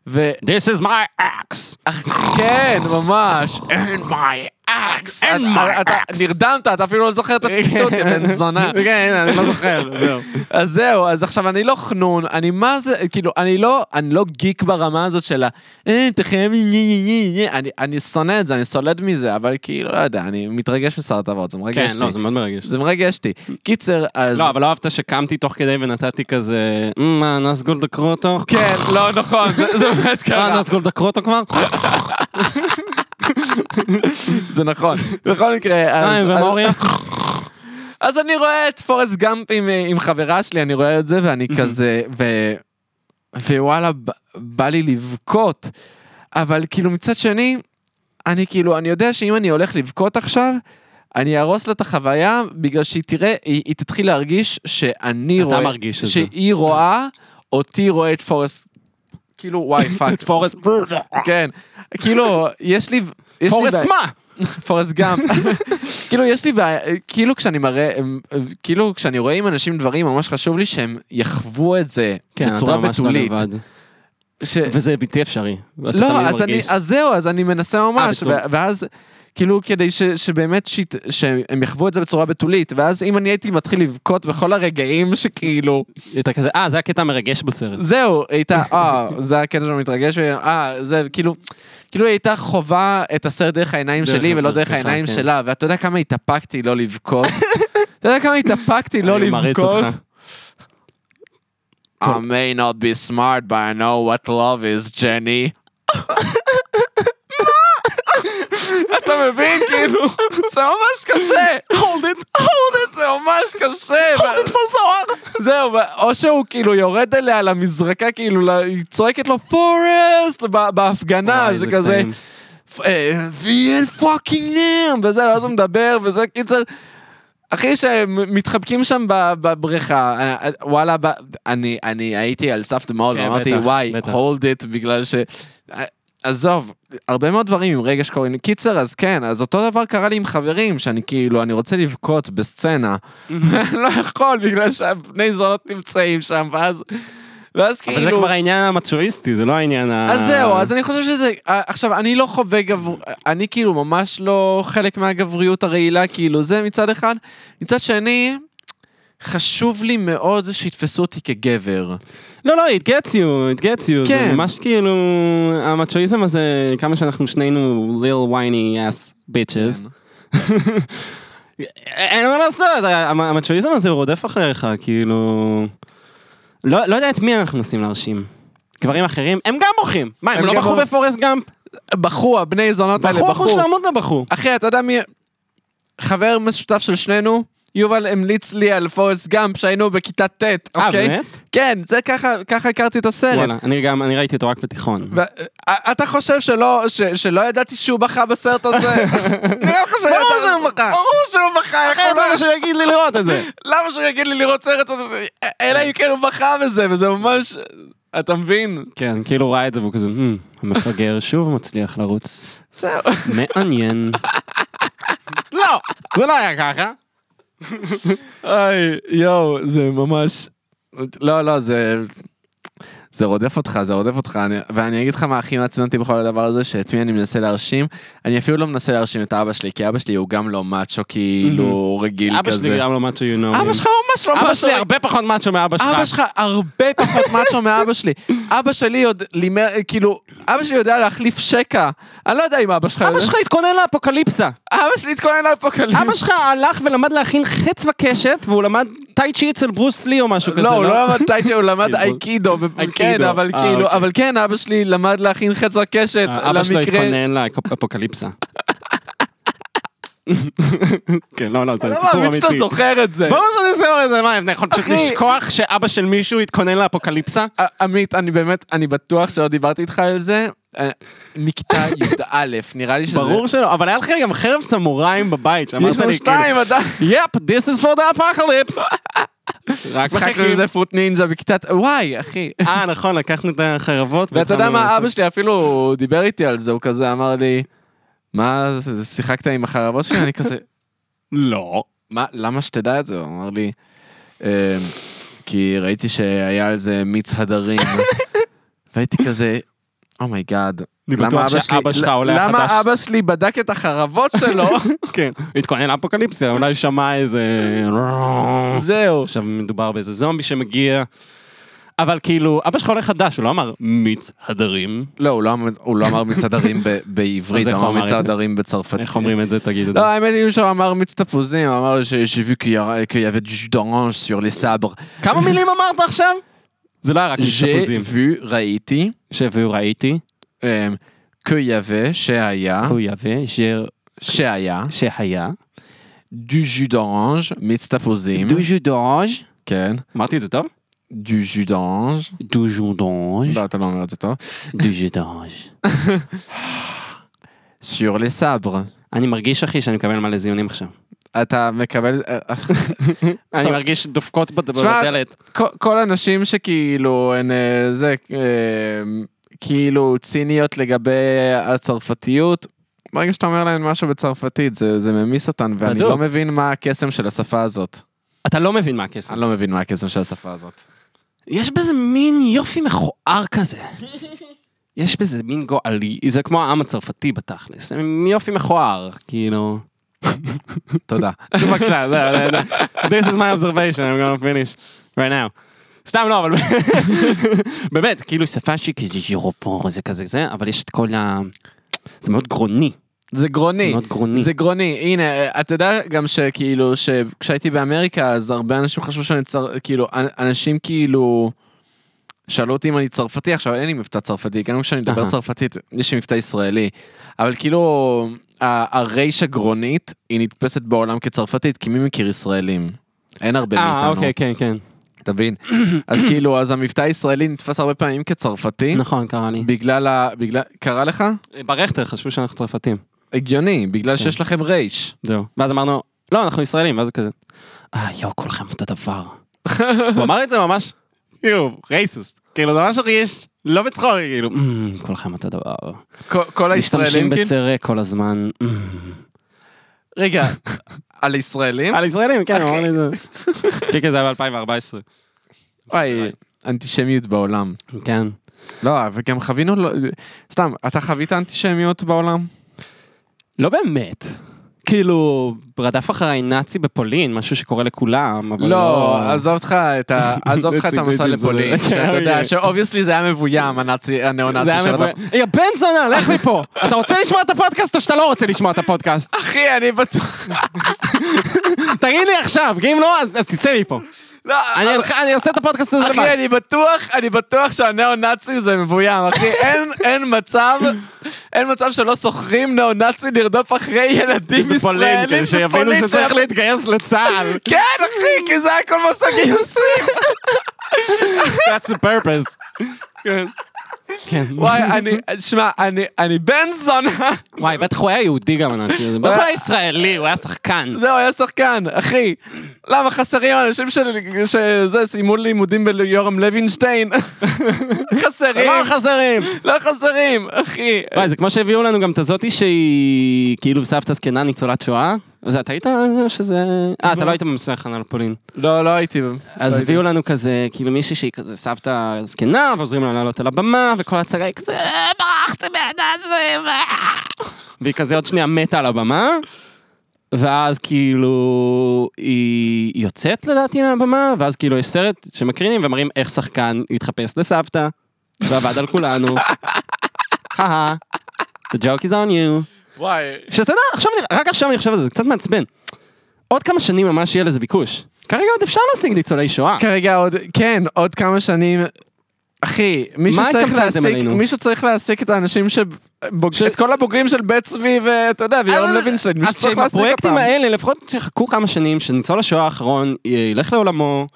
ו...
This is my axe.
אך, כן, ממש.
And my axe. And
אתה-
my
אתה
axe.
נרדמת, אתה אפילו לא זוכר את הציטוט, יא בן זונה.
כן, אני לא זוכר, זהו.
אז זהו, אז עכשיו אני לא חנון, אני מה זה, כאילו, אני לא, אני לא גיק ברמה הזאת של ה... אה, אתה חייב... לי, ני, ני, ני, ני." אני, אני שונא את זה, אני סולד מזה, אבל כאילו, לא יודע, אני מתרגש משר הטבעות, זה מרגש
כן,
אותי.
לא, זה מאוד מרגש.
זה מרגש אותי. קיצר, אז...
לא, אבל לא אהבת שקמתי תוך כדי ונתתי כזה, "מ, מה, נס גולד דקרו אותו?
כן, לא, נכון, זה, זה באמת
מה,
קרה.
נס גולד דקרו אותו כבר?
זה נכון. בכל מקרה,
אה,
אז...
ומוריה?
אז אני רואה את פורסט גאמפ עם, אה, עם חברה שלי, אני רואה את זה, ואני כזה, ו... ווואלה, ב- בא לי לבכות. אבל כאילו מצד שני, אני כאילו, אני יודע שאם אני הולך לבכות עכשיו, אני אהרוס לה את החוויה, בגלל שהיא תראה, היא, היא תתחיל להרגיש שאני
אתה
רואה...
מרגיש את זה.
שהיא רואה, אותי רואה את פורסט. כאילו, וואי, פאק.
פורסט
כן. כאילו, יש לי... יש לי
פורסט
בעיה-
מה?
פורסט גאמפ. כאילו יש לי בעיה, כאילו כשאני מראה, כאילו כשאני רואה עם אנשים דברים, ממש חשוב לי שהם יחוו את זה
כן,
בצורה
אתה ממש לא
בתולית.
לבד.
ש-
וזה בלתי אפשרי. ואתה
לא,
תמיד
אז אני,
מרגיש. אה,
אז זהו, אז אני מנסה ממש,
בצורה-
ו- ואז... כאילו כדי ש, שבאמת שיט, שהם יחוו את זה בצורה בתולית ואז אם אני הייתי מתחיל לבכות בכל הרגעים שכאילו
אתה כזה, אה, זה הקטע המרגש בסרט.
זהו הייתה אה זה הקטע שאני מתרגש אה זה כאילו כאילו היא הייתה חווה את הסרט דרך העיניים
דרך
שלי ולא דרך
הדרך,
העיניים
כן.
שלה ואתה יודע כמה התאפקתי לא לבכות אתה יודע כמה התאפקתי לא
אני מעריץ
לבכות.
אותך.
I may not be smart, but I know what love is, Jenny. אתה מבין? כאילו, זה ממש קשה. hold it, hold it, זה ממש קשה. ו- זהו, ו- או שהוא כאילו יורד אליה למזרקה, כאילו, ל- היא צועקת לו פורסט בהפגנה,
וואי, אה, זה
שכזה,
טעים.
אה, ויאל פאקינג נאם, וזה, ואז הוא מדבר, וזה קיצר. אחי שהם מתחבקים שם ב- בבריכה, אה, אה, וואלה, ב- אני, אני הייתי על סף דמעות,
כן,
ואמרתי,
בטח,
וואי,
בטח.
hold it, בגלל ש... אה, עזוב, הרבה מאוד דברים עם רגש קוראים. קיצר, אז כן, אז אותו דבר קרה לי עם חברים, שאני כאילו, אני רוצה לבכות בסצנה. אני לא יכול, בגלל שהבני זונות נמצאים שם, ואז... ואז כאילו...
אבל זה כבר העניין המצ'ואיסטי, זה לא העניין ה...
אז זהו, אז אני חושב שזה... אה, עכשיו, אני לא חווה גבר... אני כאילו ממש לא חלק מהגבריות הרעילה, כאילו, זה מצד אחד. מצד שני, חשוב לי מאוד שיתפסו אותי כגבר.
לא, לא, it gets you, it gets you. זה
כן.
ממש כאילו, המצ'ואיזם הזה, כמה שאנחנו שנינו ליל וויני אס ביצ'ס.
כן.
אין מה לעשות, ה- המצ'ואיזם הזה הוא רודף אחריך, כאילו... לא לא יודע את מי אנחנו מנסים להרשים. גברים אחרים, הם גם בוכים. מה, הם
הם
לא
גם
בחרו
בוכים.
בפורסט גאמפ?
בחור, הבני זונות האלה,
בחור לא אחוז
בחור.
לעמוד לבחור.
אחי, אתה יודע מי... חבר משותף של שנינו, יובל המליץ לי על פורסט גאמפ שהיינו בכיתה ט', אוקיי?
אה, באמת?
כן, זה ככה, ככה הכרתי את הסרט.
וואלה, אני גם, אני ראיתי אותו רק בתיכון.
ו- אתה חושב שלא, ש- שלא ידעתי שהוא בכה בסרט הזה? נראה לך שידעתי.
ברור שהוא בכה.
ברור שהוא בכה, איך
אחרת
הוא לא-
למה שהוא יגיד לי לראות את זה?
למה שהוא יגיד לי לראות סרט הזה? אלא אם כן הוא בכה בזה, וזה ממש... אתה מבין?
כן, כאילו הוא ראה את זה והוא כזה, "מ, המפגר שוב מצליח לרוץ.
זהו.
מעניין. לא, זה לא היה ככה.
היי, יואו, זה ממש... לא, לא, זה... זה רודף אותך, זה רודף אותך, אני, ואני אגיד לך מה הכי מעצבן אותי בכל הדבר הזה, שאת מי אני מנסה להרשים, אני אפילו לא מנסה להרשים את אבא שלי, כי אבא שלי הוא גם לא מאצ'ו, כאילו, רגיל כזה.
אבא שלי גם לא מאצ'ו you know.
אבא שלך ממש לא
אבא
מאצ'ו.
שלי הרבה פחות מאצ'ו מאבא שלך.
אבא שלך הרבה פחות מאצ'ו מאבא שלי. אבא שלי עוד לימד, כאילו, אבא שלי יודע להחליף שקע. אני לא יודע אם אבא שלך יודע.
אבא שלך התכונן לאפוקליפסה.
אבא שלי התכונן לאפוקליפס.
אבא שלך הלך ולמד להכין חץ וקשת, והוא למד טאי צ'י אצל ברוס לי או משהו כזה,
לא, הוא לא למד טייצ'ה, הוא למד
כאילו-
אייקידו. ו-
אייקידו.
כן, אבל
אה,
כאילו,
אוקיי. אה,
אבל כן, אבא שלי למד להכין חץ וקשת
אבא שלו
למקרה...
התכונן לאפוקליפסה. כן, לא, לא, זה
אני לא
סיפור אמיתי.
מאמין שאתה זוכר את זה.
ברור שזה זהו, זה מה, אתה יכול פשוט
אחי.
לשכוח שאבא של מישהו התכונן לאפוקליפסה?
ע- אה, עמית, אני באמת, אני בטוח שלא דיברתי איתך על זה. אה, מכיתה י"א, נראה לי שזה...
ברור שלא, אבל היה לך גם חרב סמוראים בבית, שאמרת לי, כאילו,
יש לנו שתיים עדיין.
יפ, this is for the apocalypse. רק
משחקנו
מחכים.
עם זה פרוט נינג'ה בכיתת... וואי, אחי.
אה, נכון, לקחנו את החרבות.
ואתה יודע
והתחלנו
מה,
לעשות.
אבא שלי אפילו הוא דיבר איתי על זה, הוא כזה אמר לי, מה, זה- שיחקת עם החרבות שלי? אני כזה,
לא.
מה, למה שתדע את זה? הוא אמר לי, "אמ, כי ראיתי שהיה על זה מיץ הדרים. והייתי כזה, "Oh אומייגאד.
אני בטוח שאבא שלך עולה החדש."
למה אבא שלי בדק את החרבות שלו?
כן. התכונן לאפוקליפסיה, אולי שמע איזה...
זהו.
עכשיו מדובר באיזה זומבי שמגיע. אבל כאילו, אבא שלך עולה חדש, הוא לא אמר מיץ הדרים.
לא, הוא לא אמר- הוא לא אמר מיץ הדרים ב- בעברית,
אז איך
הוא
הוא
אמר
אמר
מיץ
את זה?
הדרים בצרפתית. לא,
איך אומרים את זה? תגיד את זה.
Non, mais il m'a marre de taposer, m'a marre, j'ai j'ai vu qu'il y, aura- qu'il y avait du jus d'orange sur les sabres.
כמה מילים אמרת עכשיו? זה לא היה רק
J'ai
מתפוזים.
vu, ראיתי,
שהביאו ראיתי,
euh, qu'il y avait, שהיה,
הוא יבא, שר
שהיה,
שהיה,
du jus d'orange, מצטפוזים,
דוז'ו דאנג'
כן,
אמרתי את זה טוב?
du jus d'orange,
דוז'ו דאנג'
לא, אתה לא אומר את זה טוב,
דוז'ו דאנג'
sur les sabres.
אני מרגיש, אחי, שאני מקבל מלא זיונים עכשיו.
אתה מקבל,
אני
צודק.
מרגיש דופקות בד-
שמע,
בדלת.
כל- כל הנשים שכאילו הן אה, זה אה, כאילו ציניות לגבי הצרפתיות. ברגע שאתה אומר להן משהו בצרפתית זה, זה ממיס אותן ואני
בדיוק.
לא מבין מה הקסם של השפה הזאת.
אתה לא מבין מה הקסם.
אני לא מבין מה הקסם של השפה הזאת.
יש בזה מין יופי מכוער כזה. יש בזה מין גועלי, זה כמו העם הצרפתי בתכלס, זה מין יופי מכוער, כאילו.
תודה.
בבקשה, זה, זה, זה. This is my observation, I'm gonna finish right now. סתם לא, אבל באמת, כאילו שפה שהיא כזה ז'ירופור, זה כזה זה, אבל יש את כל ה... זה מאוד גרוני.
זה גרוני.
אה, זה מאוד גרוני.
זה גרוני. הנה, אה, אתה יודע גם שכאילו, שכשהייתי באמריקה אז הרבה אנשים חשבו שאני צר... כאילו, אנ- אנשים כאילו... שאלו אותי אם אני צרפתי, עכשיו אין לי מבטא צרפתי, גם כשאני מדבר
אהה.
צרפתית, יש לי מבטא ישראלי. אבל כאילו, ה- הרייש הגרונית, היא נתפסת בעולם כצרפתית, כי מי מכיר ישראלים? אין הרבה
אה,
מאיתנו,
אוקיי, כן, כן.
אתה מבין? אז כאילו, אז המבטא הישראלי נתפס הרבה פעמים כצרפתי,
נכון, קרה לי.
בגלל ה... בגלל... קרה לך?
ברכטר חשבו שאנחנו צרפתים.
הגיוני, בגלל שיש לכם רייש.
זהו. ואז אמרנו, לא, אנחנו ישראלים, ואז הוא כזה, אה, יואו, כולכם אותו דבר. הוא אמר את זה ממש, כאילו, רייססט. כאילו, זה ממש הרגיש, לא בצחוק, כאילו, "אמ, כולכם אותו דבר.
כל- כל
משתמשים
הישראלים כאילו?
בצרה כל הזמן. "אמ".
רגע, על ישראלים?
על ישראלים, כן, הוא אמר לי את זה. כן, כן, זה היה ב-2014.
וואי, אנטישמיות בעולם.
כן.
לא, וגם חווינו, לא- סתם, אתה חווית אנטישמיות בעולם?
לא באמת. כאילו, רדף אחריי נאצי בפולין, משהו שקורה לכולם, אבל
לא, עזוב אותך את ה- עזוב אותך את
ציפיתי
המסע
את זה.
לפולין,
כן,
שאתה יודע
אוקיי.
שאובייסלי זה היה מבוים, הנאצי,
זה
הניאו-נאצי
היה
של הדבר.
מבוא- יא בן זונה, לך מפה. אתה רוצה לשמוע את הפודקאסט או שאתה לא רוצה לשמוע את הפודקאסט?
אחי, אני בטוח...
תגיד לי עכשיו, כי אם לא, אז אז תצא מפה.
לא,
אני אני עושה את הפודקאסט הזה
אחי,
לבד.
אני בטוח, אני בטוח שהניאו-נאצי זה מבוים, אחי, אין- אין מצב, אין מצב שלא שוכרים ניאו-נאצי לרדוף אחרי ילדים
בפולין,
ישראלים
כן, שיבינו
בפולין
שצריך להתגייס לצה"ל.
כן, אחי, כי זה היה כל מסע גיוסים.
That's the purpose. כן. כן.
וואי, אני, שמע, אני, אני בן זונה.
וואי, בטח הוא היה יהודי גם, הנאצי הזה. בטח הוא היה ישראלי, הוא היה שחקן.
זהו, היה שחקן, אחי. למה חסרים אנשים של- שזה, סיימו לימודים ביורם לוינשטיין? חסרים,
לא חזרים.
לא חסרים, אחי.
וואי, זה כמו שהביאו לנו גם את הזאתי שהיא כאילו סבתא זקנה ניצולת שואה. אז אתה היית או שזה... אה, אתה לא היית במסע הכנה לפולין.
לא, לא הייתי.
אז הביאו לנו כזה, כאילו מישהי שהיא כזה סבתא זקנה, ועוזרים לה לעלות על הבמה, וכל ההצגה היא כזה, "אה, ברחתם מהנאצים, אה." והיא כזה עוד שנייה מתה על הבמה, ואז כאילו, היא היא יוצאת לדעתי מהבמה, ואז כאילו יש סרט שמקרינים ומראים איך שחקן התחפש לסבתא, ועבד על כולנו.
אהה.
The joke is on you.
וואי.
שאתה יודע, עכשיו אני, רק עכשיו אני חושב על זה, זה קצת מעצבן. עוד כמה שנים ממש יהיה לזה ביקוש. כרגע עוד אפשר להשיג ניצולי שואה.
כרגע עוד, כן, עוד כמה שנים. אחי, מישהו
מה
צריך
התכוונתם
להעסיק,
עלינו?
מישהו צריך להעסיק את האנשים ש... בוג...
ש-
את כל הבוגרים של בית צבי ואתה יודע, ויורם
אה, אבל-
לוינשטיין, מישהו
אז
צריך להעסיק אותם.
שבפרויקטים האלה, לפחות תחכו כמה שנים, שניצול השואה האחרון ילך לעולמו,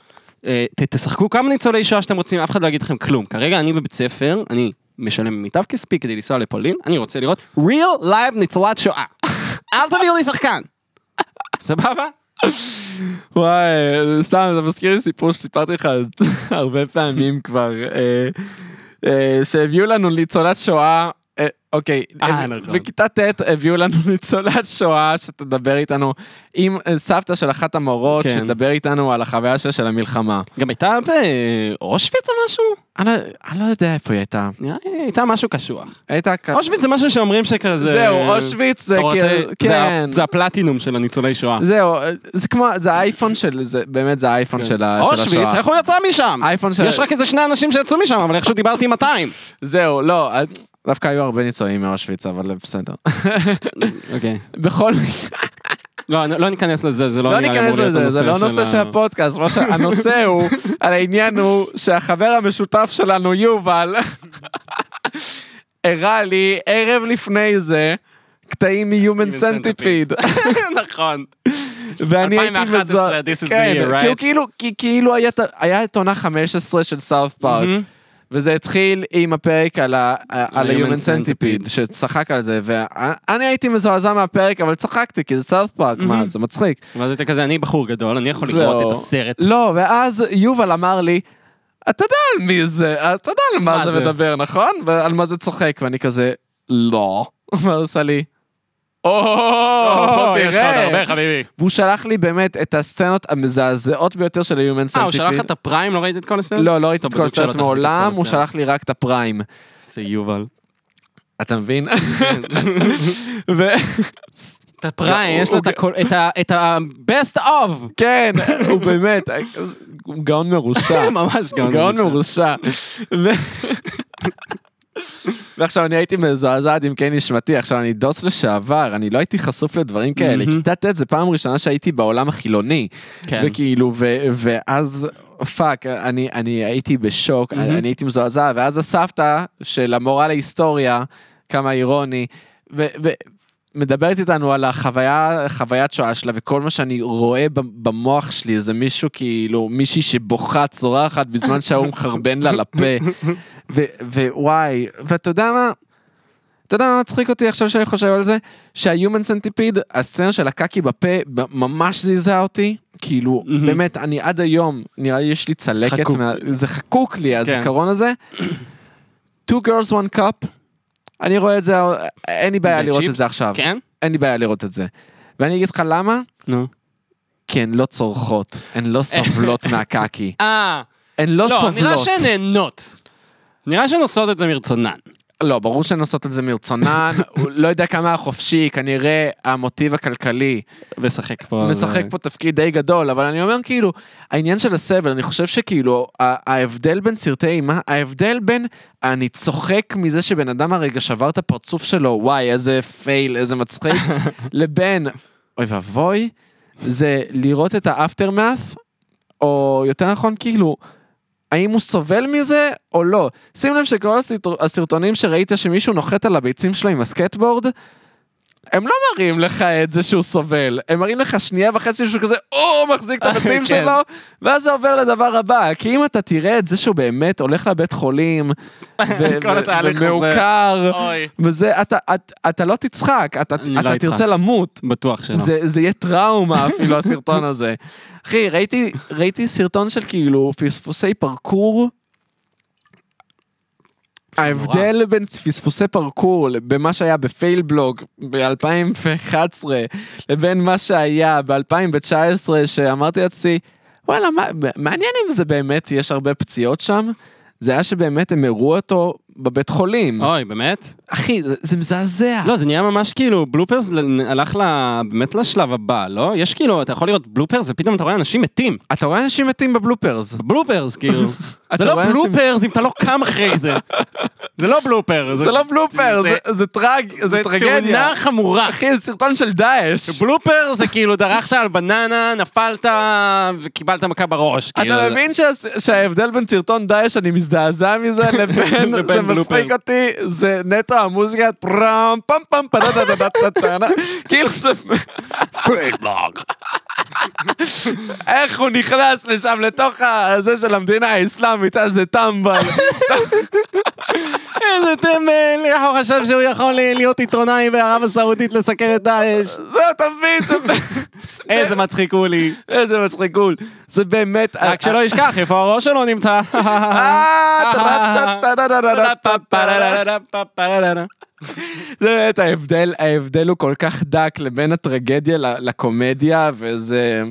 אה, ת- תשחקו כמה ניצולי שואה שאתם רוצים, אף אחד לא יגיד לכם כלום. כרגע אני בבית ספר, אני משלם ממיטב כספי כדי לנסוע לפולין, אני רוצה לראות real live ניצולת שואה. אל תביאו לי שחקן. סבבה?
וואי, סתם, זה מזכיר לי סיפור שסיפרתי לך הרבה פעמים כבר, אה, אה, שהביאו לנו ניצולת שואה, אה, אוקיי,
אה,
אה,
נכון.
בכיתה ט' הביאו לנו ניצולת שואה שתדבר איתנו עם אה, סבתא של אחת המורות,
כן.
שתדבר איתנו על החוויה שלה של המלחמה.
גם הייתה באושוויץ או משהו?
אני לא- אני לא יודע איפה היא הייתה.
נראה לי הייתה משהו קשוח.
הייתה כ...
אושוויץ זה משהו שאומרים שכזה...
זהו, אושוויץ זה
אתה רוצה-
כאילו,
זה
כן.
ה- זה הפלטינום של הניצולי שואה.
זהו, אה, זה כמו, זה האייפון של, זה באמת זה האייפון של ה- של השואה.
כן. אושוויץ, איך הוא יצא משם?
האייפון של-
יש רק איזה שני אנשים שיצאו משם, אבל איכשהו דיברתי עם 200.
זהו, לא, אה, דווקא היו הרבה ניצולים מאושוויץ, אבל בסדר.
אוקיי.
בכל מקרה,
לא, לא ניכנס לזה, זה לא
לא
נראה לי אמור
ניכנס
להיות
לזה, זה לא נושא של
ה-
הפודקאסט, מה ש- הנושא הוא, על העניין הוא שהחבר המשותף שלנו, יובל, הראה לי ערב לפני זה קטעים מ-Human
Centipede.
Centipede,
נכון.
ואני הייתי
2011,
מזוהה,
this is the
כן,
year,
כי הוא
right?
כאילו, כי כאילו היה את ה- היה את עונה 15 של סאוף פארק. וזה התחיל עם הפרק על ה-Human
Human Centipede.
Centipede, שצחק על זה, ואני הייתי מזועזע מהפרק, אבל צחקתי, כי זה סאוף פארק, מה, זה מצחיק.
ואז הייתה כזה, אני בחור גדול, אני יכול
זהו.
לקרוא את הסרט.
לא, ואז יובל אמר לי, אתה יודע על מי זה, אתה יודע על
מה
מה זה
זה?"
מדבר, נכון? ועל מה זה צוחק, ואני כזה, לא. ואז עשה לי, או, בוא
לא, יש לך עוד הרבה,
לא, תראה.
חביבי.
והוא שלח לי באמת את הסצנות המזעזעות ביותר של ה-Human
אה, הוא שלח
Centipede.
לך את הפריים, לא ראית את כל הסרט?
לא, לא ראיתי
טוב,
את כל
בטוח שלא
הסרט
תחזיק את כל
מעולם, הוא
הסרט.
שלח לי רק את הפריים.
זה יובל.
אתה מבין? ו-
את הפריים,
לא, הוא-
יש לו את הכל- את ה- את ה-best of.
כן, הוא באמת, הוא גאון מרושע.
ממש גאון.
כן. גאון מרושע. ו- ועכשיו אני הייתי מזועזעת עם כן נשמתי, עכשיו אני דוס לשעבר, אני לא הייתי חשוף לדברים כאלה.
מהמם.
כיתה ט' זה פעם ראשונה שהייתי בעולם החילוני.
כן.
וכאילו, ו- ואז, פאק, אני אני הייתי בשוק, אני אני הייתי מזועזע, ואז הסבתא של המורה להיסטוריה, כמה אירוני, ו... ו- מדברת איתנו על החוויה, חוויית שואה שלה, וכל מה שאני רואה ב- במוח שלי זה מישהו כאילו, מישהי שבוכה, צורחת, בזמן שההוא מחרבן לה לפה. ו- ווואי, ואתה יודע מה? אתה יודע מה מצחיק אותי עכשיו שאני חושב על זה? שה-Human Centipede, הסצנה של הקקי בפה, ב- ממש זעזע אותי. כאילו,
מהמם.
באמת, אני עד היום, נראה לי יש לי צלקת,
חקוק. כן.
מה- זה חקוק לי, הזיכרון הזה. Two Girls One Cup, אני רואה את זה, אין לי בעיה לראות את
בצ'יפס?
זה עכשיו.
כן?
אין לי בעיה לראות את זה. ואני אגיד לך למה?
נו.
כי הן לא צורחות, הן לא סובלות מהקקי.
אה.
הן לא
לא,
סובלות.
נראה שהן נהנות. נראה שהן עושות את זה מרצונן.
לא, ברור שהן עושות את זה מרצונן, הוא לא יודע כמה היה חופשי, כנראה המוטיב הכלכלי
משחק פה.
משחק פה תפקיד די גדול, אבל אני אומר כאילו, העניין של הסבל, אני חושב שכאילו, ה- ההבדל בין סרטי אימה, ההבדל בין אני צוחק מזה שבן אדם הרגע שבר את הפרצוף שלו, וואי, איזה פייל, איזה מצחיק, לבין, אוי ואבוי, זה לראות את האפטרמאף, או יותר נכון, כאילו, האם הוא סובל מזה או לא. שים לב שכל הסרט- הסרטונים שראית שמישהו נוחת על הביצים שלו עם הסקטבורד, הם לא מראים לך את זה שהוא סובל, הם מראים לך שנייה וחצי שהוא כזה, או, מחזיק את הביצים
כן.
שלו, ואז זה עובר לדבר הבא. כי אם אתה תראה את זה שהוא באמת הולך לבית חולים, ו-
כל
ו-
התהליך הזה.
ומעוקר,
אוי.
וזה, אתה- את- אתה לא תצחק, אתה
אני לא
אתה
אצחק.
תרצה למות.
בטוח שלא.
זה, זה יהיה טראומה אפילו הסרטון הזה. אחי, ראיתי, ראיתי סרטון של כאילו פספוסי פרקור. ההבדל בין פספוסי פרקור במה שהיה בפייל בלוג ב-2011 לבין מה שהיה ב-2019 שאמרתי לעצמי, וואלה, מה, מעניין אם זה באמת, יש הרבה פציעות שם. זה היה שבאמת הם הראו אותו בבית חולים.
אוי, באמת?
אחי, זה- זה מזעזע.
אה. לא, זה נהיה ממש כאילו, בלופרס ל- הלך ל- באמת לשלב הבא, לא? יש כאילו, אתה יכול לראות בלופרס ופתאום אתה רואה אנשים מתים.
אתה רואה אנשים מתים בבלופרס.
בלופרס, כאילו.
אתה
זה לא
רואה אנשים-
בלופרס אם אתה לא קם אחרי זה. זה לא בלופר.
זה לא בלופר,
זה-
זה- זה טרג, זה
זה
טרגדיה.
תאונה חמורה.
אחי, זה סרטון של דאעש.
בלופר זה כאילו דרכת על בננה, נפלת וקיבלת מכה בראש. כאילו.
אתה מבין שה- שההבדל בין סרטון דאעש, אני מזדעזע מזה, לבין, זה
לבין
מצחיק
בלופר.
אותי, זה נטו המוזיקה, פרם, פם פם פדה דה דה דה דה דה, כאילו זה,
פרידלוג.
איך הוא נכנס לשם, לתוך הזה של המדינה האסלאמית, איזה טמבל.
איזה טמבל, איך הוא חשב שהוא יכול להיות עיתונאי בערב הסעודית לסקר את דאעש?
זה, לא, אתה מבין, זה-
איזה מצחיק הוא לי.
איזה מצחיק גול. זה באמת...
רק שלא ישכח איפה הראש שלו נמצא.
אה, טה-טה-טה-טה-טה-טה-טה-טה-טה-טה. זה באמת ההבדל, ההבדל הוא כל כך דק לבין הטרגדיה ל- לקומדיה, וזה...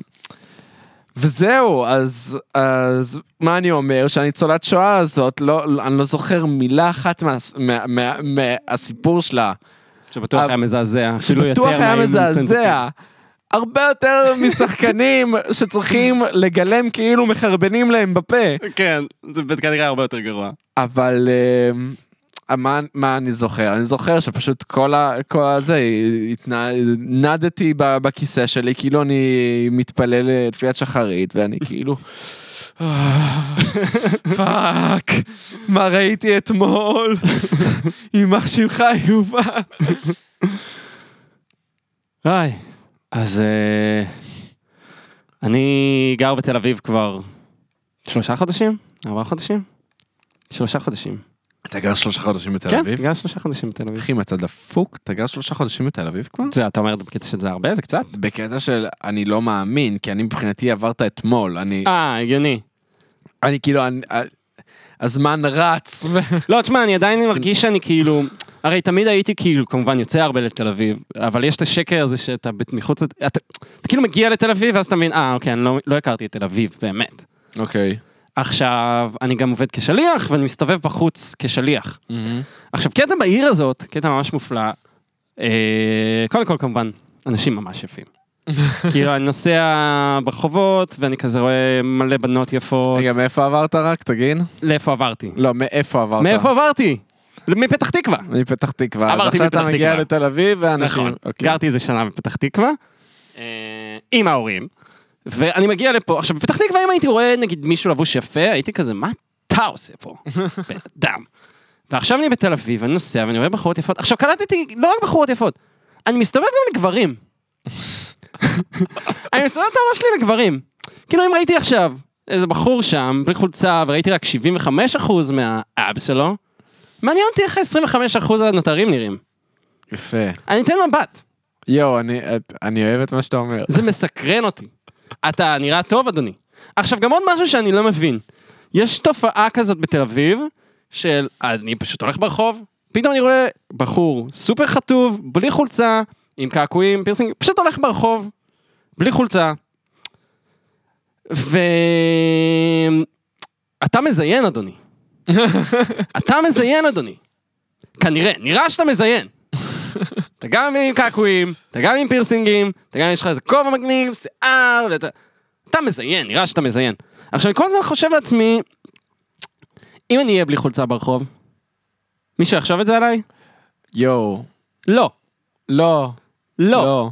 וזהו, אז, אז מה אני אומר? שהניצולת שואה הזאת, לא, לא- אני לא זוכר מילה אחת מה, מה, מה, מהסיפור שלה.
שבטוח היה מזעזע. אפילו לא יותר
בטוח היה
מהאם סנדוויץ'.
מזעזע. הרבה יותר משחקנים שצריכים לגלם כאילו מחרבנים להם בפה.
כן, זה כנראה הרבה יותר גרוע.
אבל אה, מה, מה אני זוכר? אני זוכר שפשוט כל, ה, כל הזה, התנה, נדתי ב- בכיסא שלי, כאילו אני מתפלל לתפילת שחרית, ואני כאילו... "אה, פאק, מה ראיתי אתמול? יימח שמך יובל.
היי. אז אה, אני גר בתל אביב כבר שלושה חודשים? ארבעה חודשים? שלושה חודשים.
אתה גר שלושה חודשים בתל
כן, גר שלושה חודשים בתל אביב.
אחי, אם אתה דפוק, אתה גר שלושה חודשים בתל אביב כבר?
זה, אתה אומר בקטע של זה הרבה? זה קצת?
בקטע של אני לא מאמין, כי אני מבחינתי עברת אתמול, אני,
אה, הגיוני.
אני כאילו, אני, הזמן רץ. ו-
לא, תשמע, אני עדיין מרגיש שאני כאילו... הרי תמיד הייתי כאילו, כמובן יוצא הרבה לתל אביב, אבל יש את השקר הזה שאתה בת- מחוץ... לת- אתה אתה כאילו מגיע לתל אביב, ואז אתה מבין, אה, אוקיי, אני לא- לא הכרתי את תל אביב, באמת.
אוקיי.
עכשיו, אני גם עובד כשליח, ואני מסתובב בחוץ כשליח. עכשיו, קטע בעיר הזאת, קטע ממש מופלא, אה, קודם כל, כמובן, אנשים ממש יפים. כאילו, אני נוסע ברחובות, ואני כזה רואה מלא בנות יפות.
רגע, מאיפה עברת רק? תגיד.
לאיפה עברתי?
לא, מאיפה עברת?
מאיפה עברתי? מפתח תקווה.
מפתח תקווה. אז
עברתי
עכשיו אתה
מפתח
מגיע
תקווה.
לתל אביב ואנשים...
נכון.
אוקיי.
גרתי איזה שנה בפתח תקווה, אה, עם ההורים, ואני מגיע לפה. עכשיו, בפתח תקווה, אם הייתי רואה נגיד מישהו לבוש יפה, הייתי כזה, מה אתה עושה פה? בן אדם. ועכשיו אני בתל אביב, אני נוסע ואני רואה בחורות יפות. עכשיו, קלטתי לא רק בחורות יפות, אני מסתובב גם לגברים. אני מסתובב את הראש שלי לגברים. כאילו, אם ראיתי עכשיו איזה בחור שם, בלי חולצה, וראיתי רק 75% מהאבס שלו, מעניין אותי איך ה-25% הנותרים נראים.
יפה.
אני אתן מבט.
יואו, אני- את- אני אוהב את מה שאתה אומר.
זה מסקרן אותי. אתה נראה טוב, אדוני. עכשיו, גם עוד משהו שאני לא מבין. יש תופעה כזאת בתל אביב, של אני פשוט הולך ברחוב, פתאום אני רואה בחור סופר חטוב, בלי חולצה, עם קעקועים, פירסינג, פשוט הולך ברחוב, בלי חולצה. ו... אתה מזיין, אדוני. אתה מזיין, אדוני. כנראה, נראה שאתה מזיין. אתה גם עם קעקועים, אתה גם עם פירסינגים, אתה גם יש לך איזה כובע מגניב, שיער, ואתה... אתה מזיין, נראה שאתה מזיין. עכשיו, אני כל הזמן חושב לעצמי, אם אני אהיה בלי חולצה ברחוב, מישהו יחשוב את זה עליי?
יואו.
לא.
לא.
לא.
לא.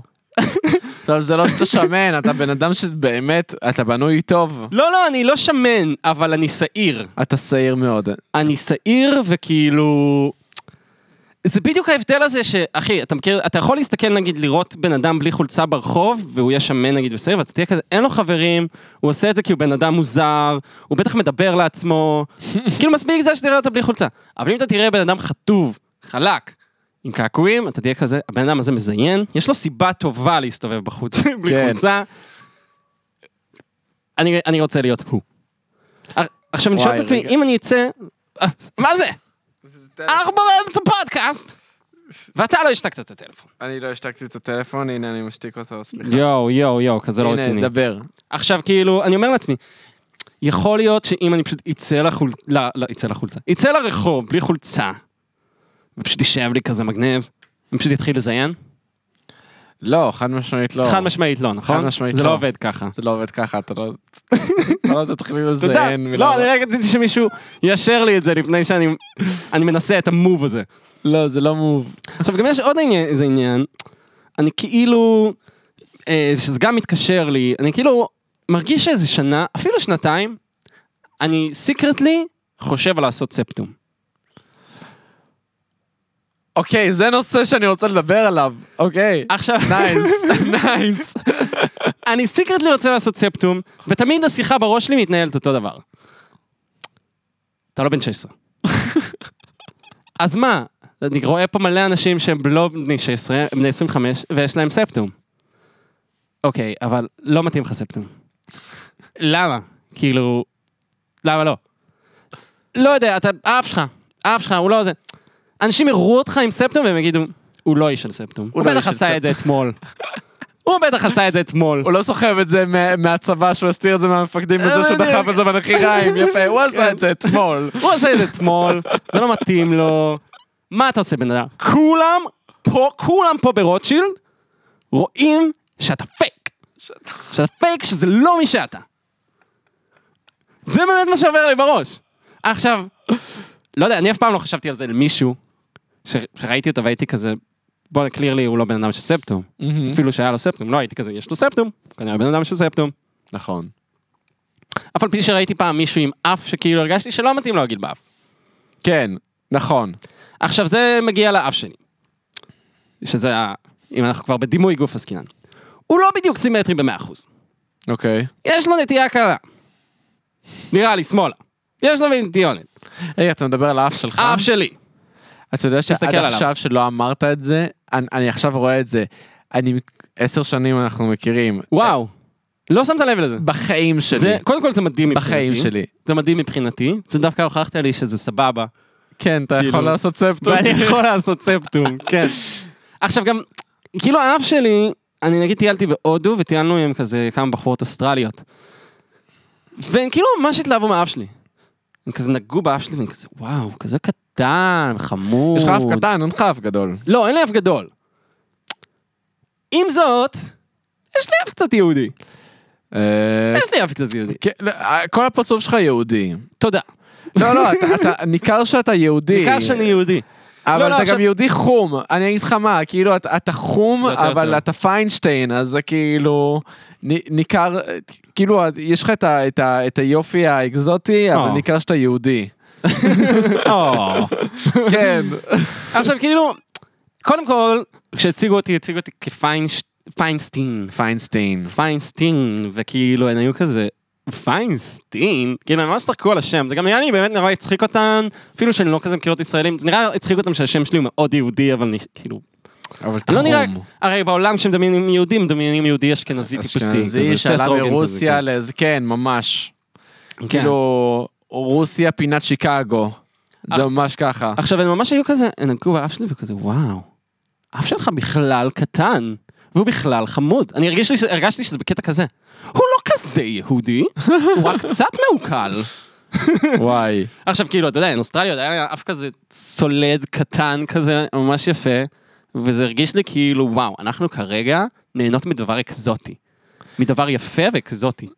עכשיו, זה לא שאתה שמן, אתה בן אדם שבאמת, אתה בנוי טוב.
לא, לא, אני לא שמן, אבל אני שעיר.
אתה שעיר מאוד.
אני שעיר וכאילו... זה בדיוק ההבדל הזה ש... אחי, אתה מכיר, אתה יכול להסתכל נגיד לראות בן אדם בלי חולצה ברחוב, והוא יהיה שמן נגיד ושעיר, ואתה תהיה כזה, אין לו חברים, הוא עושה את זה כי הוא בן אדם מוזר, הוא בטח מדבר לעצמו, כאילו מספיק זה שתראה אותו בלי חולצה. אבל אם אתה תראה בן אדם חטוב, חלק, עם קעקועים, אתה תהיה כזה, הבן אדם הזה מזיין, יש לו סיבה טובה להסתובב בחוץ בלי
כן.
חולצה. אני, אני רוצה להיות הוא. אה, עכשיו אני שואל את
וואי,
עצמי,
רגע.
אם אני אצא... אה, מה זה? אנחנו באמצע פודקאסט! ואתה לא השתקת את הטלפון.
אני לא השתקתי את הטלפון, הנה אני משתיק אותו, סליחה.
יואו, יואו, יואו, כזה לא רציני.
הנה, דבר.
עכשיו, כאילו, אני אומר לעצמי, יכול להיות שאם אני פשוט אצא לחול... לא, לא, אצא לחולצה. אצא לרחוב בלי חולצה, ופשוט יישב לי כזה מגניב, אני פשוט אתחיל לזיין?
לא, חד משמעית לא.
חד משמעית לא, נכון?
חד משמעית
זה
לא.
לא עובד ככה.
זה לא עובד ככה, אתה לא... אתה לא תתחיל
תודה.
לזיין.
לא, אני רק רציתי שמישהו יאשר לי את זה לפני שאני אני מנסה את המוב הזה.
לא, זה לא מוב.
עכשיו, גם יש עוד עניין, איזה עניין, אני כאילו, אה, שזה גם מתקשר לי, אני כאילו מרגיש שאיזה שנה, אפילו שנתיים, אני סיקרטלי חושב על לעשות ספטום.
אוקיי, זה נושא שאני רוצה לדבר עליו, אוקיי.
עכשיו,
נייס, נייס.
אני סיקרטלי רוצה לעשות ספטום, ותמיד השיחה בראש שלי מתנהלת אותו דבר. אתה לא בן 16. אז מה, אני רואה פה מלא אנשים שהם לא בני 16, הם בני 25, ויש להם ספטום. אוקיי, אבל לא מתאים לך ספטום. למה? כאילו, למה לא? לא יודע, אתה, האף שלך, האף שלך, הוא לא זה. אנשים יראו אותך עם ספטום והם יגידו, הוא לא איש של ספטום. הוא
לא
בטח
איש של
עשה את זה אתמול. הוא בטח עשה את זה אתמול.
הוא לא סוחב את זה מה- מהצבא, שהוא הסתיר את זה מהמפקדים, בזה שהוא
בדיוק.
דחף את זה בנחיריים, יפה, הוא
כן.
עשה את זה אתמול.
הוא עושה את זה אתמול, זה לא מתאים לו. מה אתה עושה בן אדם? כולם פה, כולם פה ברוטשילד רואים שאתה פייק. שאתה פייק, שזה לא מי שאתה. זה באמת מה שעובר לי בראש. עכשיו, לא יודע, אני אף פעם לא חשבתי על זה למישהו, ש- שראיתי אותו והייתי כזה, בוא, קלירלי הוא לא בן אדם של ספטום. אפילו שהיה לו ספטום, לא הייתי כזה, יש לו ספטום, הוא כנראה בן אדם של ספטום.
נכון.
אף על פי שראיתי פעם מישהו עם אף שכאילו הרגשתי שלא מתאים לו הגיל באף.
כן, נכון.
עכשיו זה מגיע לאף שלי. שזה, ה- אם אנחנו כבר בדימוי גוף עסקינן. הוא לא בדיוק סימטרי ב-100%.
אוקיי.
יש לו נטייה קלה. נראה לי, שמאלה. יש לו נטיונת.
רגע, אתה מדבר על האף שלך?
האף שלי.
אתה יודע שעד
תסתכל עליו.
עכשיו שלא אמרת את זה, אני- אני עכשיו רואה את זה. אני, עשר שנים אנחנו מכירים.
וואו. לא שמת לב לזה.
בחיים שלי.
זה, קודם כל זה מדהים מבחינתי.
בחיים שלי.
זה מדהים מבחינתי. זה דווקא הוכחת לי שזה סבבה.
כן, אתה
כאילו.
יכול לעשות ספטום.
ואני יכול לעשות ספטום, כן. עכשיו גם, כאילו האף שלי, אני נגיד טיילתי בהודו וטיילנו עם כזה כמה בחורות אוסטרליות. והן כאילו ממש התלהבו מהאף שלי. הם כזה נגעו באף שלי ואני כזה, וואו, כזה קטן, חמוד.
יש לך אף קטן, אין לך אף גדול.
לא, אין לי אף גדול. עם זאת, יש לי אף קצת יהודי.
אה,
יש לי אף קצת יהודי.
כן, לא, אה, כל הפרצוף שלך יהודי.
תודה.
לא, לא, אתה- אתה, ניכר שאתה יהודי.
בעיקר שאני יהודי.
אבל
לא, לא,
אתה
עכשיו-
גם יהודי חום. אני אגיד לך מה, כאילו, אתה אתה חום,
זה יותר טוב.
אבל אתה פיינשטיין, אז זה כאילו, נ- ניכר, כאילו, יש לך את ה- את ה- את היופי האקזוטי, אבל
או.
ניכר שאתה יהודי.
או.
כן.
עכשיו כאילו, קודם כל, כשהציגו אותי, הציגו אותי כפיינסטין.
פיינסטיין.
פיינסטין, וכאילו הן היו כזה, פיינסטין? כאילו הם ממש צחקו על השם, זה גם נראה לי באמת נורא הצחיק אותן, אפילו שאני לא כזה מכירות ישראלים, זה נראה הצחיק אותם שהשם שלי הוא מאוד יהודי, אבל אני כאילו,
אבל אתה
אני לא נראה,
חום.
הרי בעולם כשמדמיינים יהודים, מדמיינים יהודי אשכנזי טיפוסי. כזה,
אשכנזי
סט
שעלה
רוגן כזה,
מרוסיה לאיזה, כן, ממש.
כן. כן.
כאילו, רוסיה פינת שיקגו. זה ממש ככה.
עכשיו, הם ממש היו כזה, הם נגעו באף שלי וכזה, וואו, אף שלך בכלל קטן, והוא בכלל חמוד. אני הרגיש לי, ש- הרגשתי שזה בקטע כזה. הוא לא כזה יהודי, הוא רק קצת מעוקל.
וואי.
עכשיו, כאילו, אתה יודע, אין אוסטרליות, היה לה אף כזה סולד קטן כזה, ממש יפה, וזה הרגיש לי כאילו, וואו, אנחנו כרגע נהנות מדבר אקזוטי. מדבר יפה ואקזוטי.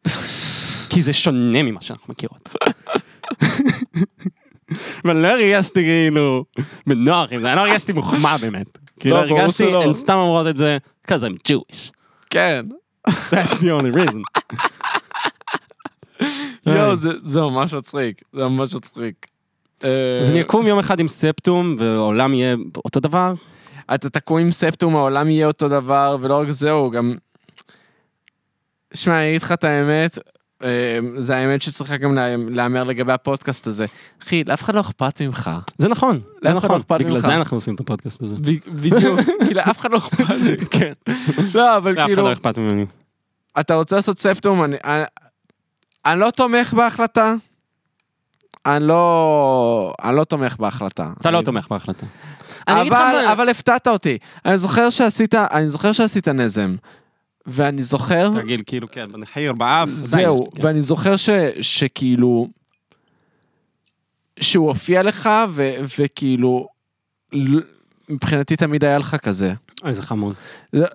כי זה שונה ממה שאנחנו מכירות. ואני לא הרגשתי כאילו בנוח עם זה, אני לא הרגשתי מוחמא באמת. כאילו
לא, ברור
הרגשתי,
שלא.
הן סתם אומרות את זה, because I'm Jewish.
כן.
That's the only reason. אה,
יואו, זה- זה ממש מצחיק. זה ממש מצחיק. אה,
אז אני אקום יום אחד עם ספטום, והעולם יהיה אותו דבר,
אתה תקוע עם ספטום, העולם יהיה אותו דבר, ולא רק זהו, גם... שמע, אני אגיד לך את האמת, אה, זה האמת שצריכה גם לה- להיאמר לגבי הפודקאסט הזה. אחי, לאף אחד לא אכפת ממך.
זה נכון, זה
לאף אחד לא
נכון,
אכפת
בגלל
ממך.
זה אנחנו עושים את הפודקאסט הזה.
בדיוק, כאילו, אף אחד לא אכפת ממך. כן. לא, אבל
לאף אחד
כאילו,
לא אכפת ממני.
אתה רוצה לעשות ספטום, אני- אני- אני לא תומך בהחלטה. אני לא, אני לא תומך בהחלטה.
אתה לא
אני-
תומך בהחלטה. אני אגיד לך
אבל,
מה-
אבל הפתעת אותי. אני זוכר שעשית, אני זוכר שעשית נזם. ואני זוכר,
תרגיל, כאילו, כן, חיור באף.
זהו,
כן.
ואני זוכר ש, שכאילו, שהוא הופיע לך, ו, וכאילו, ל- מבחינתי תמיד היה לך כזה.
איזה חמוד.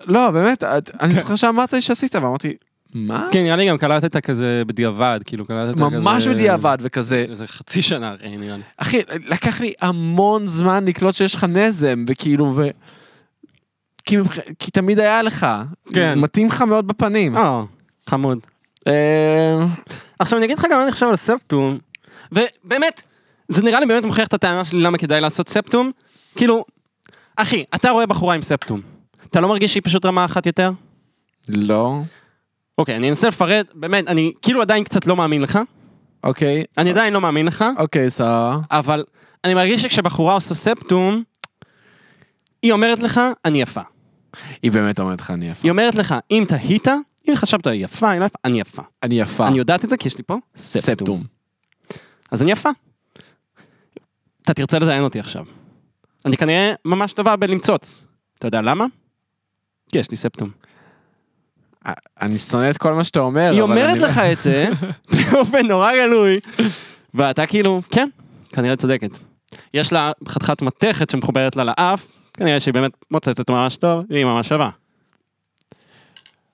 לא, באמת, את- אני זוכר שאמרת לי שעשית, ואמרתי, מה?
כן, נראה לי גם קלטת כזה בדיעבד, כאילו, קלטת כזה...
ממש בדיעבד, וכזה,
איזה חצי שנה אחרי, נראה לי.
אחי, לקח לי המון זמן לקלוט שיש לך נזם, וכאילו, ו... כי, מבח... כי תמיד היה לך.
כן.
מתאים לך מאוד בפנים.
אה, חמוד.
אה,
עכשיו אני אגיד לך גם מה אני חושב על ספטום, ובאמת, זה נראה לי באמת מוכיח את הטענה שלי למה כדאי לעשות ספטום. כאילו, אחי, אתה רואה בחורה עם ספטום, אתה לא מרגיש שהיא פשוט רמה אחת יותר?
לא.
אוקיי, אני אנסה לפרט, באמת, אני כאילו עדיין קצת לא מאמין לך,
אוקיי,
אני עדיין לא מאמין לך,
אוקיי, סבבה.
אבל אני מרגיש שכשבחורה עושה ספטום, היא אומרת לך, אני יפה.
היא באמת אומרת לך, אני יפה.
היא אומרת לך, אם תהית, אם חשבת היא יפה, היא לא יפה, אני יפה.
אני יפה.
אני יודעת את זה כי יש לי פה
אה. ספטום.
אז אני יפה. אתה תרצה לזיין אותי עכשיו. אני כנראה ממש טובה בלמצוץ. אתה יודע למה? כי יש לי ספטום.
אה, אני שונא את כל מה שאתה אומר,
היא
אבל
אומרת
אני-
לך את זה באופן נורא גלוי, ואתה כאילו, כן, כנראה צודקת. יש לה חתיכת מתכת שמחוברת לה לאף, כנראה שהיא באמת מוצאת את ממש טוב, והיא ממש שווה.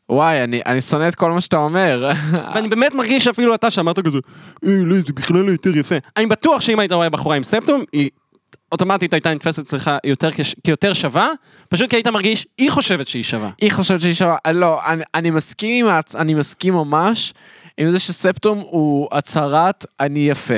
וואי, אני אני שונא את כל מה שאתה אומר.
ואני באמת מרגיש שאפילו אתה שאמרת כזה, אה, לא, זה בכלל לא יותר יפה. אני בטוח שאם היית רואה בחורה עם ספטום, היא אוטומטית הייתה נתפסת אצלך יותר כש- כיותר שווה, פשוט כי היית מרגיש, היא חושבת שהיא שווה.
היא חושבת שהיא שווה, אה, לא, אני, אני מסכים עם ההצ... אני מסכים ממש עם זה שספטום הוא הצהרת אני יפה.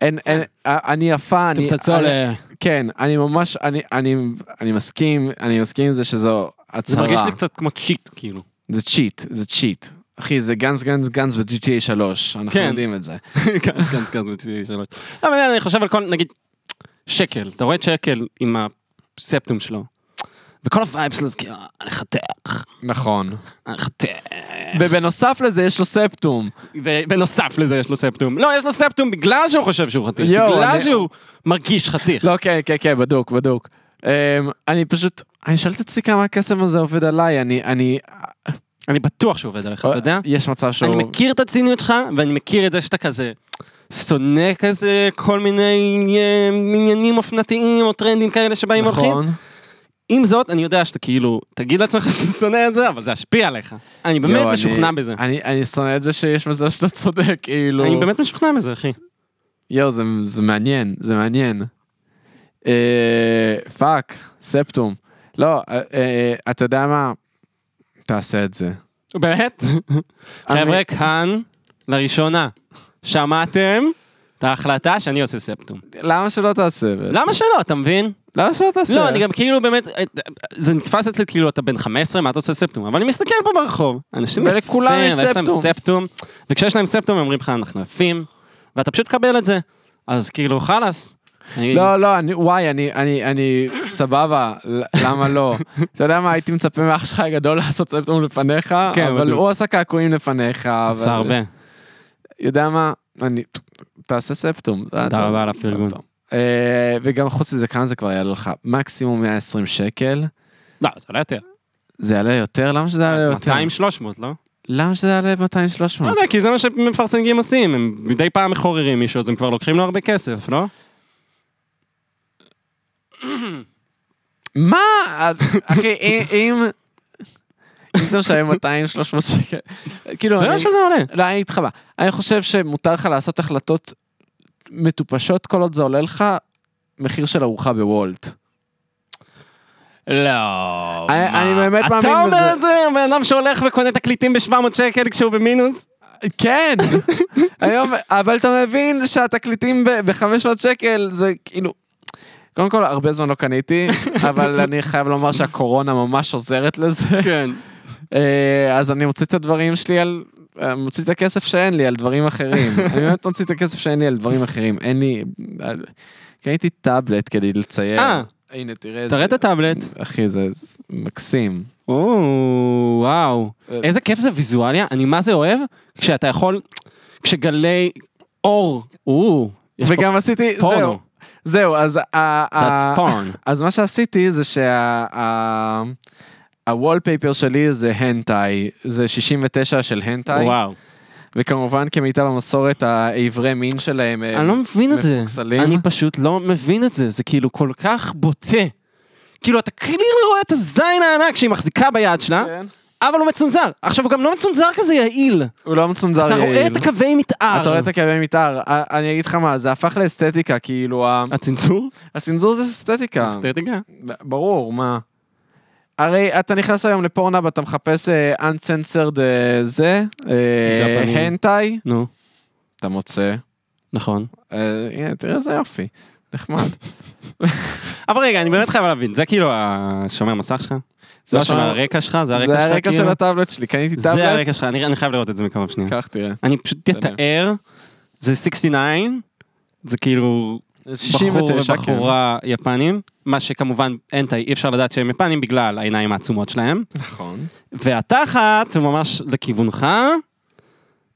אין, אין, אה, אני יפה, אני... אני- כן, אני ממש, אני, אני, אני מסכים, אני מסכים עם זה שזו
זה מרגיש
הצהרה.
לי קצת כמו צ'יט, כאילו.
זה צ'יט, זה צ'יט. אחי, זה גנץ גנץ גנץ ב-GTA 3, אנחנו
כן.
יודעים את זה.
כן, כן, כן, זה שלוש. לא, באמת, אני חושב על כל, נגיד, שקל, אתה רואה את שקל עם הספטום שלו. וכל הווייבס שלו זה כאילו, אני חתך,
נכון.
אני חתך.
ובנוסף לזה יש לו ספטום.
ובנוסף לזה יש לו ספטום. לא, יש לו ספטום בגלל שהוא חושב שהוא חתיך,
יואו,
בגלל
אני-
שהוא מרגיש חתיך.
לא, כן, כן, כן, בדוק, בדוק. אמ, אני פשוט, אני שואל את עצמי כמה הקסם הזה עובד עליי, אני, אני...
אני בטוח שהוא עובד עליך, אתה יודע?
אה, יש מצב
אני
שהוא...
מכיר את הציניות שלך, ואני מכיר את זה שאתה כזה שונא כזה כל מיני אה, עניינים אופנתיים או טרנדים כאלה שבאים הולכים.
נכון.
עם זאת, אני יודע שאתה כאילו, תגיד לעצמך שאתה שונא את זה, אבל זה ישפיע עליך. אני באמת
יואו, אני-
משוכנע בזה.
אני, אני שונא את זה שיש מצב שאתה צודק, כאילו...
אני באמת משוכנע בזה, אחי.
יואו, זה, זה מעניין, זה מעניין. אה, פאק, ספטום. לא, אה, אה, אתה יודע מה? תעשה את זה.
באמת? חבר'ה, כאן, לראשונה, שמעתם את ההחלטה שאני עושה ספטום.
למה שלא תעשה בעצם?
למה שלא, אתה מבין?
למה שלא תעשה?
לא, אני גם כאילו באמת, זה נתפס אצלי כאילו אתה בן 15, מה אתה עושה ספטום? אבל אני מסתכל פה ברחוב, אנשים
ולכולם
יפים,
יש
ויש להם
ספטום.
ספטום, וכשיש להם ספטום הם אומרים לך אנחנו יפים, ואתה פשוט תקבל את זה, אז כאילו חלאס. אני-
לא, לא, אני, וואי, אני, אני, אני, סבבה, ל- למה לא? אתה יודע מה, הייתי מצפה מאח שלך הגדול לעשות ספטום לפניך,
כן,
אבל
בדיוק.
הוא עשה קעקועים לפניך, אבל...
עושה הרבה.
יודע מה, אני... תעשה ספטום.
תודה רבה על הפרגון.
אה, וגם חוץ מזה, כמה זה כבר יעלה לך? מקסימום 120 שקל.
לא, זה לא יותר.
זה יעלה יותר? למה שזה יעלה יותר?
200-300, לא?
למה שזה יעלה 200-300?
לא יודע, כי זה מה שמפרסמים עושים, הם מדי פעם מחוררים מישהו, אז הם כבר לוקחים לו הרבה כסף, לא?
מה? אז- אחי, אם... אם אם אתה משלם 200-300 שקל, כאילו,
זה
אני-
מה שזה עולה.
לא, אני איתך מה. אני חושב שמותר לך לעשות החלטות מטופשות כל עוד זה עולה לך מחיר של ארוחה בוולט.
לא.
אני-
מה?
אני באמת מאמין
אתה
בזה.
אומר את זה, בן אדם שהולך וקונה תקליטים ב-700 שקל כשהוא במינוס?
כן, היום, אבל אתה מבין שהתקליטים ב-500 שקל זה כאילו... קודם כל, הרבה זמן לא קניתי, אבל אני חייב לומר שהקורונה ממש עוזרת לזה.
כן.
אה, אז אני מוציא את הדברים שלי על... אה, מוציא את הכסף שאין לי על דברים אחרים. אני באמת מוציא את הכסף שאין לי על דברים אחרים. אין לי... על- קניתי טאבלט כדי לצייר.
אה.
הנה, תראה
תראה את הטאבלט.
אחי, זה זה מקסים.
או, וואו. איזה כיף זה ויזואליה, אני מה זה אוהב? כשאתה יכול, כשגלי אור, או, יש פה
וגם עשיתי... זהו.
פורנו.
זהו, אז... ה- ה-
That's porn.
אז מה שעשיתי זה שה... ה- הוולפייפר שלי זה הנטאי, זה 69 של הנטאי,
וואו.
וכמובן כמיטב המסורת האיברי מין שלהם, הם-
אני לא מבין את זה.
מפוקסלים.
אני פשוט לא מבין את זה. זה כאילו כל כך בוטה. כאילו, אתה כאילו רואה את הזין הענק שהיא מחזיקה ביד שלה,
כן.
אבל הוא מצונזר. עכשיו, הוא גם לא מצונזר כזה יעיל.
הוא לא מצונזר
אתה
יעיל.
רואה את הקווי מתאר.
אתה רואה את הקווי מתאר, א- אני אגיד לך מה, זה הפך לאסתטיקה, כאילו, ה- כן.
הצנזור?
הצנזור זה אסתטיקה.
אסתטיקה.
ב- ברור, מה? הרי אתה נכנס היום לפורנאב, אתה מחפש אה, uncensored אה, זה, אה,
ג'פני.
הנטאי,
נו,
אתה מוצא.
נכון.
אה, הנה, תראה איזה יופי, נחמד.
אבל רגע, אני באמת חייב להבין, זה כאילו השומר מסך שלך? זה השומר
השומר-
הרקע שלך? זה הרקע שלך?
זה הרקע של
כאילו?
הטאבלט כן. שלי, קניתי
זה
טאבלט,
הרקע שלך, אני אני חייב לראות את זה מקרוב שנייה.
קח תראה.
אני פשוט אתאר, זה 69, זה כאילו בחור
69,
ובחורה יפנים, מה שכמובן אין, ת- אי אפשר לדעת שהם יפנים בגלל העיניים העצומות שלהם,
נכון.
והתחת הוא ממש לכיוונך,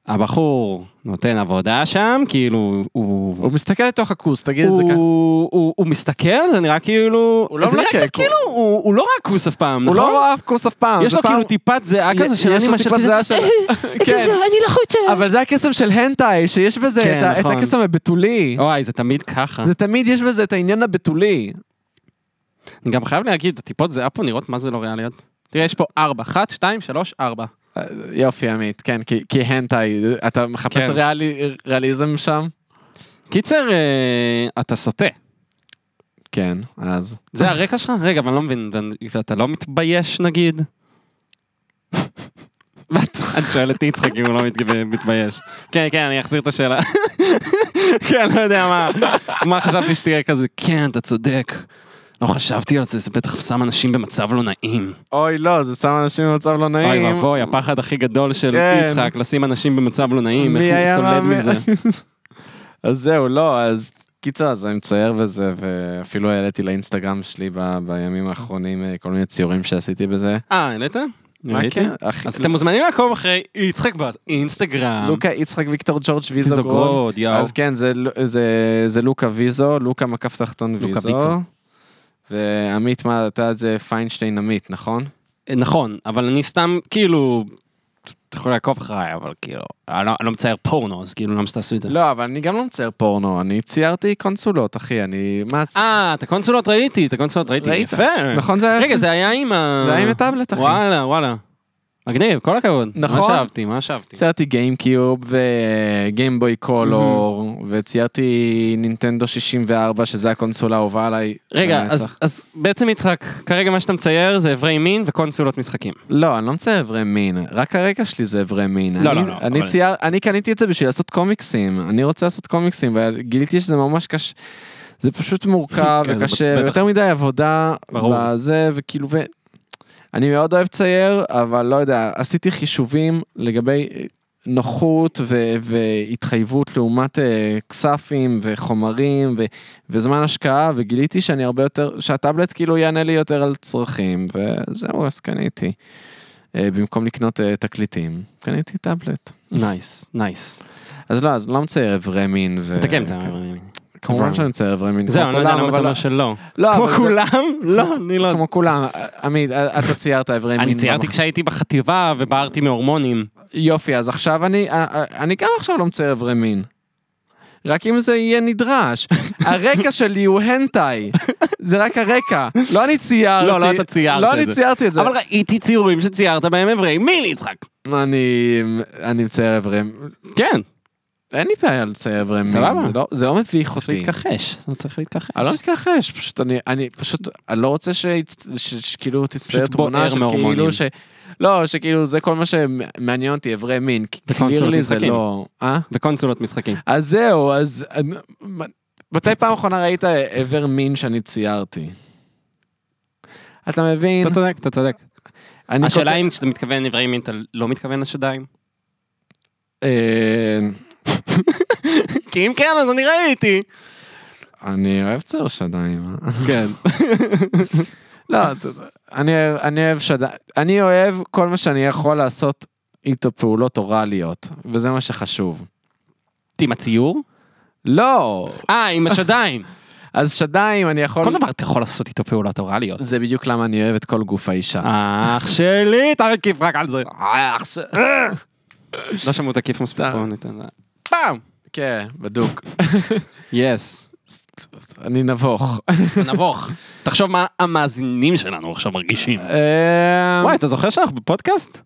הבחור נותן עבודה שם, כאילו הוא...
הוא מסתכל לתוך הכוס, תגיד את זה ככה.
הוא, הוא, הוא מסתכל, זה נראה כאילו...
הוא לא
זה נראה
מלקק,
קצת
הוא-
כאילו, הוא, הוא לא ראה כוס אף פעם,
הוא
נכון?
לא ראה כוס אף פעם.
יש
זה
לו
פעם-
כאילו טיפת זיעה כזה של
יש
אני
לו
משתתי...
טיפת זיעה של... כן.
אני לחוצה.
אבל זה הקסם של הנטאי, שיש בזה
כן,
את ה- את
נכון.
הקסם הבתולי.
אוי, זה תמיד ככה.
זה תמיד יש בזה את העניין הבתולי.
אני גם חייב להגיד, הטיפות זיעה פה נראות מה זה לא ריאליות. תראה, יש פה ארבע, אחת, שתיים, שלוש, ארבע.
יופי עמית, כן, כי- כי הנטאי, אתה מחפש
כן.
ריאלי- ריאליזם שם?
קיצר, אה, אתה סוטה.
כן, אז.
זה הרקע שלך? רגע, אבל אני לא מבין, ו- ואתה לא מתבייש נגיד? אני שואל את יצחק אם הוא לא מת- מתבייש. כן, כן, אני אחזיר את השאלה. כן, לא יודע מה, מה חשבתי שתהיה כזה, כן, אתה צודק. לא חשבתי על זה, זה בטח שם אנשים במצב לא נעים.
אוי לא, זה שם אנשים במצב לא נעים.
אוי ואבוי, הפחד הכי גדול של
כן.
יצחק, לשים אנשים במצב לא נעים,
מי
איך
היה
הוא סולד
מאמין?
מזה.
אז זהו, לא, אז קיצר, אז אני מצייר בזה, ואפילו העליתי לאינסטגרם שלי ב- בימים האחרונים אה, כל מיני ציורים שעשיתי בזה.
אה, העלית?
מה
ראיתי.
כן? אחי-
אז אתם מוזמנים לעקוב אחרי יצחק באינסטגרם.
לוקה יצחק ויקטור ג'ורג' ויזוגרוד.
פיזוגרוד, יאו.
אז כן, זה, ל- זה, זה לוקה ויזו, לוקה מקף תחתון
לוקה
ויזו.
ויצו.
ועמית, מה, אתה זה פיינשטיין עמית, נכון?
אה, נכון, אבל אני סתם, כאילו, אתה יכול לעקוב אחריי, אבל כאילו, אני לא- אני לא מצייר פורנו, אז כאילו, למה שתעשו את זה?
לא, אבל אני גם לא מצייר פורנו, אני ציירתי קונסולות, אחי, אני... מה... צ-
אה, את הקונסולות ראיתי, את הקונסולות ראיתי.
ראית.
יפה.
נכון זה היה...
רגע, זה היה עם ה...
זה היה עם הטאבלט, אחי.
וואלה, וואלה. מגניב, כל הכבוד.
נכון.
מה שאהבתי, מה שאהבתי.
ציירתי גיימקיוב וגיימבוי
Mhm.
קולור, וציירתי נינטנדו 64, שזה הקונסולה האהובה עליי.
רגע,
לנצח.
אז- אז בעצם יצחק, כרגע מה שאתה מצייר זה אברי מין וקונסולות משחקים.
לא, אני לא מצייר אברי מין, רק הרקע שלי זה אברי מין.
לא,
אני,
לא, לא,
אני
אבל-
צייר, אני קניתי את זה בשביל לעשות קומיקסים, אני רוצה לעשות קומיקסים, וגיליתי שזה ממש קשה, זה פשוט מורכב
כן, זה
וקשה,
בטח.
ויותר מדי עבודה,
ברור.
בזה, וכאילו, ו... אני מאוד אוהב צייר, אבל לא יודע, עשיתי חישובים לגבי אה, נוחות ו- והתחייבות לעומת אה, כספים וחומרים ו- וזמן השקעה, וגיליתי שאני הרבה יותר, שהטאבלט כאילו יענה לי יותר על צרכים, וזהו, אז קניתי. אה, במקום לקנות אה, תקליטים, קניתי טאבלט.
נייס, נייס.
אז לא, אז לא מצייר אברי מין. ו-
תקן את ה...
כמובן שאני מצייר אברי מין.
זהו,
כמו
אני לא יודע
כולם,
למה אתה
אבל-
אומר שלא.
לא,
כמו
אבל זה-
כולם? לא, אני לא...
כמו כולם. עמית, אתה ציירת אברי מין.
אני ציירתי
במח-
כשהייתי בחטיבה ובערתי מהורמונים.
יופי, אז עכשיו אני, אה, אה, אני גם עכשיו לא מצייר אברי מין. רק אם זה יהיה נדרש. הרקע שלי הוא הנטאי. זה רק הרקע. לא אני ציירתי.
לא, לא אתה ציירת
לא
את
אני
זה.
ציירתי את זה.
אבל ראיתי ציורים שציירת בהם אברי מין יצחק.
אני, אני מצייר אברי...
כן,
אין לי בעיה לצייר אברי מין.
סבבה.
זה לא- זה לא מביך
צריך
אותי.
להתכחש. לא צריך להתכחש.
אני לא מתכחש, פשוט אני, אני פשוט, אני לא רוצה שיצ- ש- שכאילו תצטייר
פשוט בוער
תמונה של
מהורמונים.
כאילו ש... לא, שכאילו זה כל מה שמעניין אותי, אברי מין, כי
וקונסולות
קלירלי זה
משחקים.
לא... אה?
וקונסולות משחקים.
אז זהו, אז... אני- מ- מתי פעם אחרונה ראית איבר מין שאני ציירתי? אתה מבין?
אתה צודק, אתה צודק.
אני
השאלה
כותב-
אם כשאתה מתכוון אברי מין אתה לא מתכוון לשדיים?
אה,
כי אם כן, אז אני ראיתי.
אני אוהב צייר שדיים. אה?
כן.
לא, אתה יודע, אני אוהב- אני אוהב שדיים. אני אוהב כל מה שאני יכול לעשות איתו פעולות אוראליות, וזה מה שחשוב.
עם הציור?
לא!
אה, עם השדיים.
אז שדיים, אני יכול...
כל דבר אתה יכול לעשות איתו פעולות אוראליות.
זה בדיוק למה אני אוהב את כל גוף האישה.
אה. אח שלי, תקיף רק על זה.
אה, אח ש-
לא שמעו תקיף מספיק,
אה.
בואו ניתן לה.
פעם! כן, בדוק.
יס.
אני נבוך.
נבוך. תחשוב מה המאזינים שלנו עכשיו
אמ,
מרגישים.
אה,
וואי, אתה זוכר שאנחנו בפודקאסט?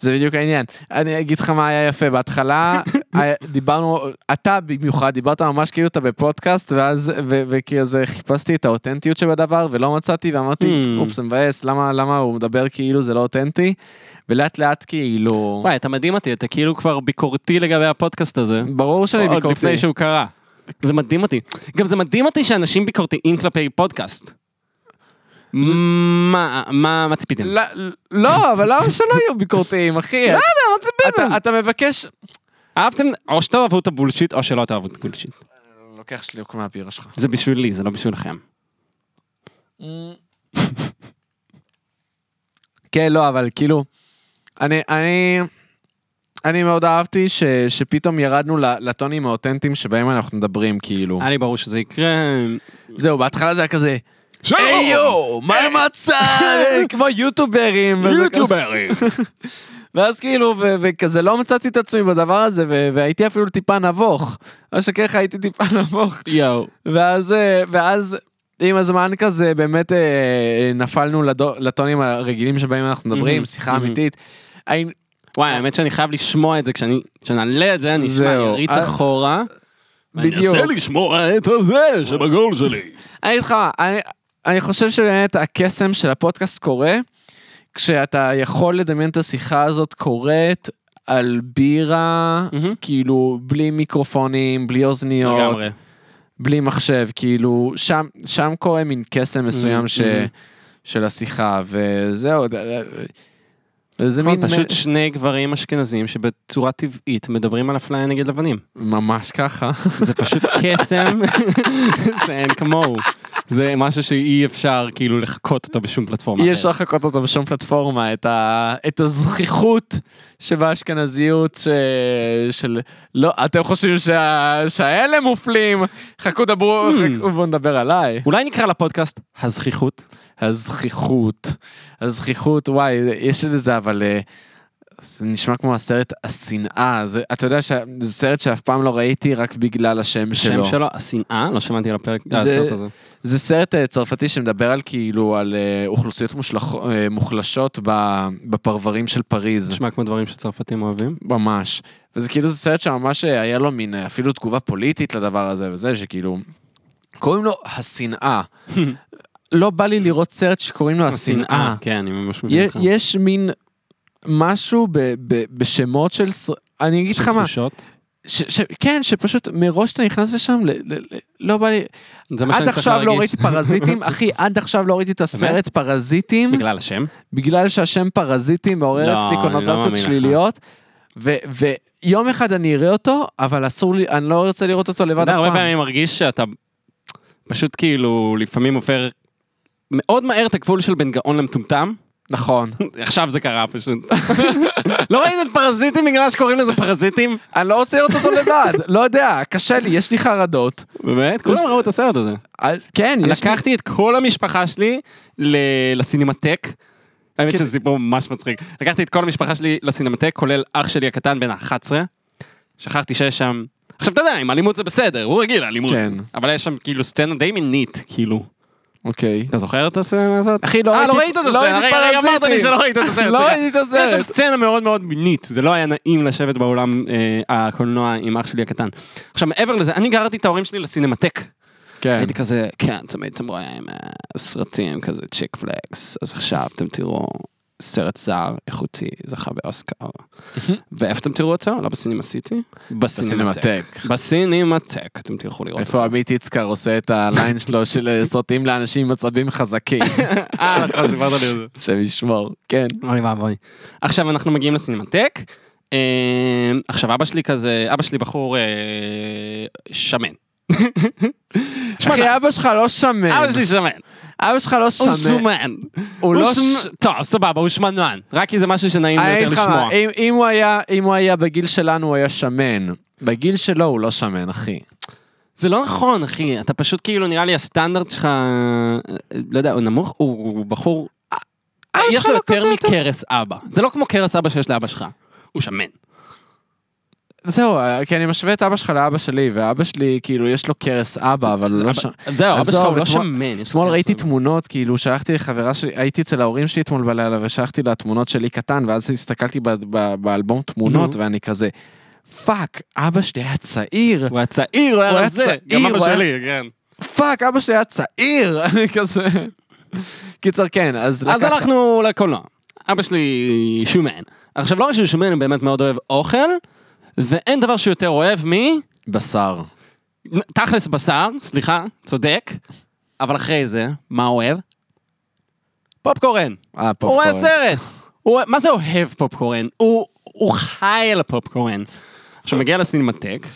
זה בדיוק העניין. אני אגיד לך מה היה יפה, בהתחלה היה- דיברנו, אתה במיוחד, דיברת ממש כאילו אתה בפודקאסט, ואז, ו- וכאילו זה, חיפשתי את האותנטיות שבדבר, ולא מצאתי, ואמרתי,
Hmm.
אוף, זה מבאס, למה, למה הוא מדבר כאילו זה לא אותנטי? ולאט לאט כאילו...
וואי, אתה מדהים אותי, אתה כאילו כבר ביקורתי לגבי הפודקאסט הזה.
ברור שאני
עוד
ביקורתי.
לפני שהוא קרה. זה מדהים אותי. גם זה מדהים אותי שאנשים ביקורתיים כלפי פודקאסט. מה, מה, מה ציפיתם?
לא- לא, אבל למה שלא יהיו ביקורתיים, אחי? למה?
מה ציפיתם?
אתה, אתה מבקש...
אהבתם, או שתאהבו את הבולשיט, או שלא תאהבו את הבולשיט.
לוקח שליוק מהבירה שלך.
זה בשבילי, זה לא בשבילכם.
כן, לא, אבל כאילו, אני, אני, אני מאוד אהבתי ש, שפתאום ירדנו ל- לטונים האותנטיים שבהם אנחנו מדברים, כאילו.
היה לי ברור שזה יקרה.
זהו, בהתחלה זה היה כזה,
שלום!
היי יו, מה מצאת? לא! כמו יוטוברים. וזה
יוטיוברים.
ואז כאילו, ו- וכזה לא מצאתי את עצמי בדבר הזה, ו- והייתי אפילו טיפה נבוך. לא שקר לך, הייתי טיפה נבוך.
יואו.
ואז, אה, ואז עם הזמן כזה באמת אה, אה, נפלנו לדו- לטונים הרגילים שבהם אנחנו מדברים,
מהמם,
שיחה
מהמם.
אמיתית. האם-
וואי, האמת שאני חייב לשמוע את זה, כשאני כשנעלה את זה, אני אשמע
זהו.
יריץ
אה,
אחורה.
בדיוק.
ואני אנסה לשמוע את הזה שבגול שלי.
אני אגיד לך מה, אני- אני חושב שבאמת הקסם של הפודקאסט קורה, כשאתה יכול לדמיין את השיחה הזאת קורית על בירה,
מהמם.
כאילו בלי מיקרופונים, בלי אוזניות,
לגמרי.
בלי מחשב, כאילו שם, שם קורה מין קסם מסוים ש,
מהמם.
של השיחה, וזהו. ד- ד- זה מין...
נכון, פשוט שני גברים אשכנזים שבצורה טבעית מדברים על אפליה נגד לבנים.
ממש ככה.
זה פשוט קסם שאין כמוהו. זה משהו שאי אפשר כאילו לחקות אותו בשום פלטפורמה
אי
אחרת.
אפשר לחכות אותו בשום פלטפורמה, את, ה, את הזכיחות שבאשכנזיות ש, של... לא, אתם חושבים שה, שהאלה מופלים? חכו דברו, חכו, בואו נדבר עליי.
אולי נקרא לפודקאסט הזכיחות.
הזכיחות, הזכיחות, וואי, יש לזה אבל... אה, זה נשמע כמו הסרט השנאה, זה, אתה יודע שזה סרט שאף פעם לא ראיתי רק בגלל השם
שם
שלו.
שלו, השנאה, לא שמעתי על הפרק,
זה-
על הסרט הזה.
זה סרט אה, צרפתי שמדבר על כאילו על אה, אוכלוסיות מושלח- אה, מוחלשות ב- בפרברים של פריז.
נשמע כמו דברים שצרפתים אוהבים.
ממש. וזה כאילו זה סרט שממש אה, היה לו מין אה, אפילו תגובה פוליטית לדבר הזה וזה, שכאילו... קוראים לו השנאה. לא בא לי לראות סרט שקוראים לו השנאה.
כן, אני ממש מבין
יה-
אותך.
יש מין משהו ב- ב- בשמות של... ס- אני אגיד לך
של
מה,
תחושות.
ש- ש- כן, שפשוט מראש אתה נכנס לשם, ל- ל- ל- לא בא לי...
זה מה שאני
עד
צריך
עכשיו לא
להרגיש.
ראיתי פרזיטים, אחי, עד עכשיו לא ראיתי את הסרט פרזיטים,
בגלל השם.
בגלל שהשם פרזיטים מעורר
לא,
אצלי
אני לא
קונוטציות
מאמין לך.
שליליות, ו- ויום אחד אני אראה אותו, אבל אסור לי, אני לא ארצה לראות אותו
אתה
לבד
יודע,
אף
הרבה
פעם.
פעמים מרגיש שאתה פשוט כאילו לפעמים עובר מאוד מהר את הגבול של בין גאון למטומטם.
נכון.
עכשיו זה קרה פשוט. לא ראיתם את פרזיטים בגלל שקוראים לזה פרזיטים?
אני לא רוצה לראות אותו לבד, לא יודע, קשה לי, יש לי חרדות.
באמת? כולם ראו את הסרט הזה.
אה, כן, יש לי...
לקחתי את כל המשפחה שלי ל- לסינמטק. האמת
כן.
שזה סיפור ממש מצחיק. לקחתי את כל המשפחה שלי לסינמטק, כולל אח שלי הקטן בן ה-11. שכחתי שיש שם... עכשיו אתה יודע, עם אלימות זה בסדר, הוא רגיל לאלימות.
כן.
אבל יש שם כאילו סצנה די מינית, כאילו.
אוקיי.
אתה זוכר את הסצנה הזאת?
אחי, לא
אה, לא
ראיתי-
ראית את
לא
הסצנה,
ראיתי
רגע, רגע, אמרת לי
פרזיטים.
שלא ראית את הסרט.
לא
סליחה.
ראיתי את הסרט.
יש שם סצנה מאוד מאוד מינית, זה לא היה נעים לשבת באולם אה, הקולנוע עם אח שלי הקטן. עכשיו, מעבר לזה, אני גררתי את ההורים שלי לסינמטק.
כן.
הייתי כזה, כן, תמיד אתם רואים אה, סרטים כזה צ'יק פלקס, אז עכשיו אתם תראו סרט זר איכותי, זכה באוסקר. ואיפה אתם תראו אותו? לא בסינמה סיטי?
בסינמטק.
בסינמטק, אתם תלכו לראות אותו.
איפה עמית יצקר עושה את הליין שלו של אה, סרטים לאנשים עם עצבים חזקים,
אה, נכון, סיפרת לי על זה.
השם ישמור, כן.
אוי ואבוי. עכשיו אנחנו מגיעים לסינמטק. אה, עכשיו אבא שלי כזה, אבא שלי בחור אה, שמן. שמע,
אחי, אבא שלך לא שמן.
אבא שלי שמן.
אבא שלך לא
הוא
שמן.
שומן.
הוא לא ש-
טוב, סבבה, הוא שמנמן. רק כי זה משהו שנעים לו
אני אגיד
יותר
לך מה, אה-
לשמוע.
אם- אם הוא היה- אם הוא היה בגיל שלנו, הוא היה שמן. בגיל שלו הוא לא שמן, אחי.
זה לא נכון, אחי. אתה פשוט כאילו, נראה לי הסטנדרט שלך, אה, לא יודע, הוא נמוך, הוא, הוא בחור...
אבא
יש
שלך
לו
לא
יותר
כזה יותר-
מכרס אבא. זה לא כמו כרס אבא שיש לאבא שלך. הוא שמן.
זהו, אה, כי אני משווה את אבא שלך לאבא שלי, ואבא שלי, כאילו, יש לו קרס אבא, אבל הוא לא
אבא-
שם.
זהו, אבא שלך
עזוב,
הוא לא
אתמול-
שמן. יש לו
אתמול
כרס
ראיתי
אבא.
תמונות, כאילו, שלחתי לחברה שלי, הייתי אצל ההורים שלי אתמול בלילה, ושלחתי לה תמונות שלי קטן, ואז הסתכלתי ב- ב- באלבום תמונות,
נו.
ואני כזה, פאק, אבא שלי היה צעיר,
הוא היה צעיר, הוא
הוא
היה
היה
זה.
צעיר,
גם אבא
הוא היה-
שלי, כן.
פאק, אבא שלי היה צעיר, אני כזה... קיצר, כן, אז...
אז
לקחת-
הלכנו לקולנוע. אבא שלי שומן. עכשיו, לא רק שהוא שומן, הוא באמת מאוד אוהב אוכל, ואין דבר שהוא יותר אוהב מ...
בשר.
תכלס בשר, סליחה, צודק, אבל אחרי זה, מה הוא אוהב? פופקורן.
אה,
הוא
פופקורן.
רואה סרט. הוא... מה זה אוהב פופקורן? הוא, הוא חי על הפופקורן. עכשיו, מגיע לסינמטק,